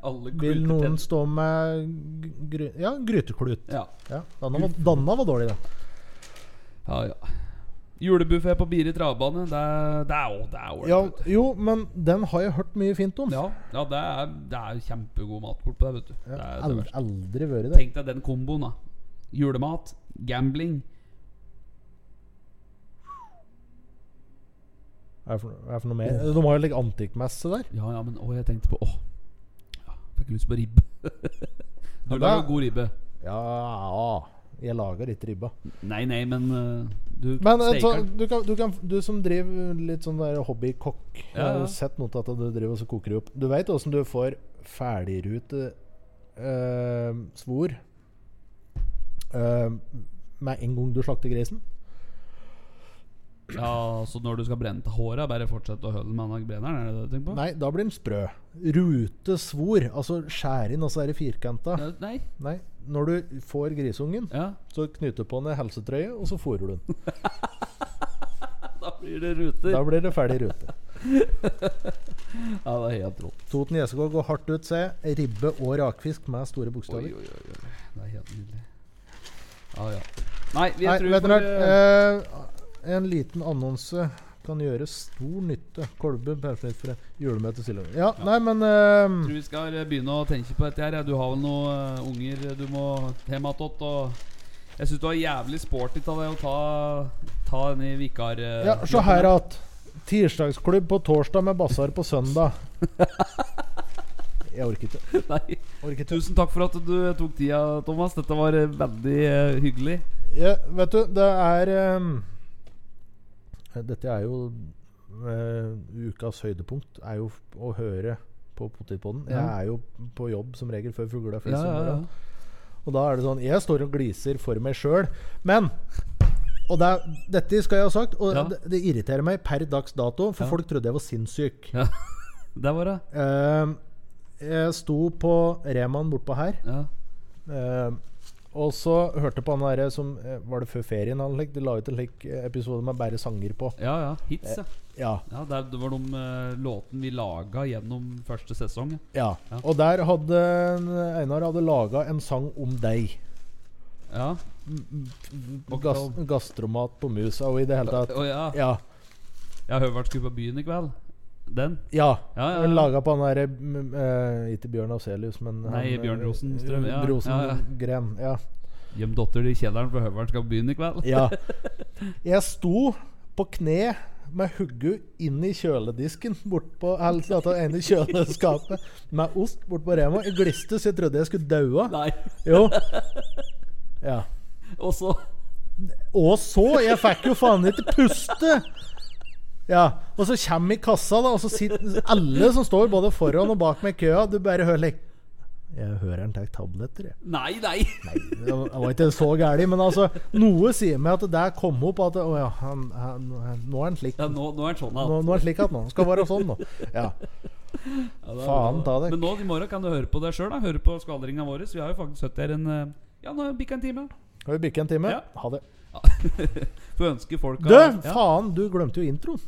S1: Alle
S2: Vil
S1: kluter
S2: noen
S1: til.
S2: stå med gry, ja, gryteklut?
S1: Ja.
S2: Ja, Danna var, Danna var dårlig, da.
S1: ja, ja. Julebuffé på Biri travbane. Det er det er å- det er ålreit.
S2: Ja,
S1: vet du.
S2: jo, men den har jeg hørt mye fint om.
S1: Ja, ja, det er, det er kjempegod matbord på deg, vet du. Det er det
S2: Ald-
S1: verste.
S2: aldri vært det.
S1: Tenk deg den komboen, da. Julemat, gambling
S2: Hva er det for, hva er det for noe mer? De har jo like antikkmesse der.
S1: Ja, ja, men å, jeg tenkte på Å, ja, fikk lyst på ribbe. du
S2: Ja,
S1: lager
S2: da-
S1: god ribbe.
S2: Ja, jeg lager ikke ribba.
S1: Nei, nei, men eh, du
S2: Men eh, så,
S1: steker den.
S2: du, kan, du, kan, du som driver litt sånn der hobbykokk, jeg har
S1: Ja, ja.
S2: jo sett noe til at du driver og så koker du opp. Du veit åssen du får ferdigrute eh, svor eh, med en gang du slakter grisen?
S1: Ja, så når du skal brenne til håret, bare fortsett å holde med den brenneren? Er det det du tenker på?
S2: Nei, da blir den sprø. Rute svor, altså skjær inn, og så er det firkanta.
S1: Ja, nei.
S2: Nei, når du får grisungen,
S1: Ja,
S2: så knytter du på den en helsetrøye, og så fôrer du den.
S1: da blir det ruter.
S2: Da blir det ferdig rute.
S1: Ja, det er helt rått.
S2: Toten Gjesegård går hardt ut, se. Ribbe og rakfisk med
S1: Oi,
S2: store bokstaver.
S1: oi, oi, oi. Det er helt nydelig. Ja, ja. Nei, vi
S2: Nei,
S1: tror
S2: vet
S1: vi
S2: dere
S1: får, eh,
S2: hva, eh, en liten annonse kan gjøre stor nytte. Kolbe, perfektfrø, julemøte, sildevann. Ja, nei, men ehm,
S1: Tror vi skal eh, begynne å tenke på dette her. ja. Du har vel noen eh, unger du må hjem attåt. Og jeg syns du var jævlig sporty av deg å ta, ta denne vikar... eh,
S2: Ja, se
S1: jobben
S2: her
S1: her.
S2: at Tirsdagsklubb på torsdag med basar på søndag. Jeg orker ikke.
S1: Nei.
S2: Orker ikke.
S1: Tusen takk for at du tok tida, Thomas. Dette var eh, veldig eh, hyggelig.
S2: Ja, vet du, det er ehm, Dette er jo eh, ukas høydepunkt. Er jo f- å høre på Potetpodden. Jeg
S1: Ja.
S2: er jo på jobb som regel før fugla
S1: Ja,
S2: flest. om
S1: ja, ja.
S2: morgenen. Og da er det sånn Jeg står og gliser for meg sjøl. Men Og det, er- dette skal jeg ha sagt, og
S1: Ja.
S2: det, det irriterer meg per dags dato, for
S1: Ja.
S2: folk trodde jeg var sinnssyk.
S1: Ja. Der var det.
S2: Ehm, jeg sto på Reman bortpå her.
S1: Ja.
S2: Eh, og så hørte på han derre som eh, Var det før ferien han like, de la ut en slik eh, episode med bare sanger på?
S1: ja, ja. Hits, ja.
S2: Ja.
S1: ja det, det var de eh, låtene vi laga gjennom første sesong. ja.
S2: ja.
S1: Ja.
S2: Og der hadde Einar hadde laga en sang om deg.
S1: Ja. mm, Og
S2: Gas,
S1: da-
S2: gastromat på musa og i det hele tatt.
S1: Å ja.
S2: Ja.
S1: Jeg har hørt skulle på byen i kveld. Den?
S2: Ja.
S1: Ja, ja, ja.
S2: Laga på han derre mm, eh, Ikke Bjørn Afselius, men
S1: Nei,
S2: han,
S1: Bjørn
S2: eh,
S1: Rosenstrøm, ja, ja, ja.
S2: Rosengren. Ja.
S1: Gjem datter i kjelleren, for høveren skal på byen i kveld.
S2: Ja. Jeg sto på kne med hodet inn i kjøledisken bortpå det ene kjøleskapet med ost bortpå Rema. Jeg gliste så jeg trodde jeg skulle daua.
S1: Nei.
S2: Jo. Ja.
S1: Og så
S2: Og så! Jeg fikk jo faen ikke puste! Ja, Og så kommer jeg i kassa, da, og så sitter alle som står både foran og bak meg i køa, du bare hører like Jeg hører han tar tabletter, jeg.
S1: Nei, nei!
S2: Det var det var ikke så gærent, men altså, noe sier meg at det der kom opp at Å ja, han, han, nå er han slik.
S1: Ja, nå, nå er det sånn
S2: Nå,
S1: alt.
S2: nå er han slik at nå. Han skal være sånn nå. Ja.
S1: Ja, det er
S2: faen
S1: bra.
S2: ta det.
S1: Men nå i morgen kan du høre på deg sjøl. Høre på skvaldringa vår. Vi har jo faktisk sittet her en eh, Ja, nå bikka en time.
S2: Skal vi bikke en time?
S1: Ja.
S2: Ha det.
S1: Får ønske folk
S2: Du,
S1: ja.
S2: faen, du glemte jo introen.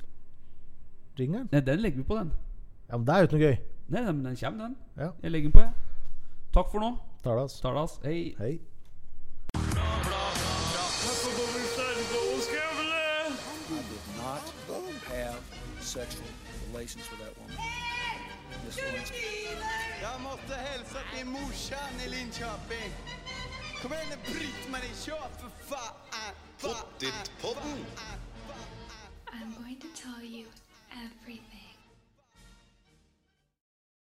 S2: Ringeren.
S1: Nei, Den legger vi på, den.
S2: Ja, men det er jo ikke noe gøy.
S1: Nei, nei, men den kommer, den.
S2: Ja.
S1: Jeg legger den på, jeg. Takk for nå.
S2: Talas.
S1: Talas. Hei.
S2: altså. Hei.
S3: I did not have sexual relations with that woman. Miss Lewinsky.
S4: Jag måste hälsa till morsan i Linköping. Kom igen nu Britt-Marie, kör för fan! Fa-
S5: I'm going to tell you everything.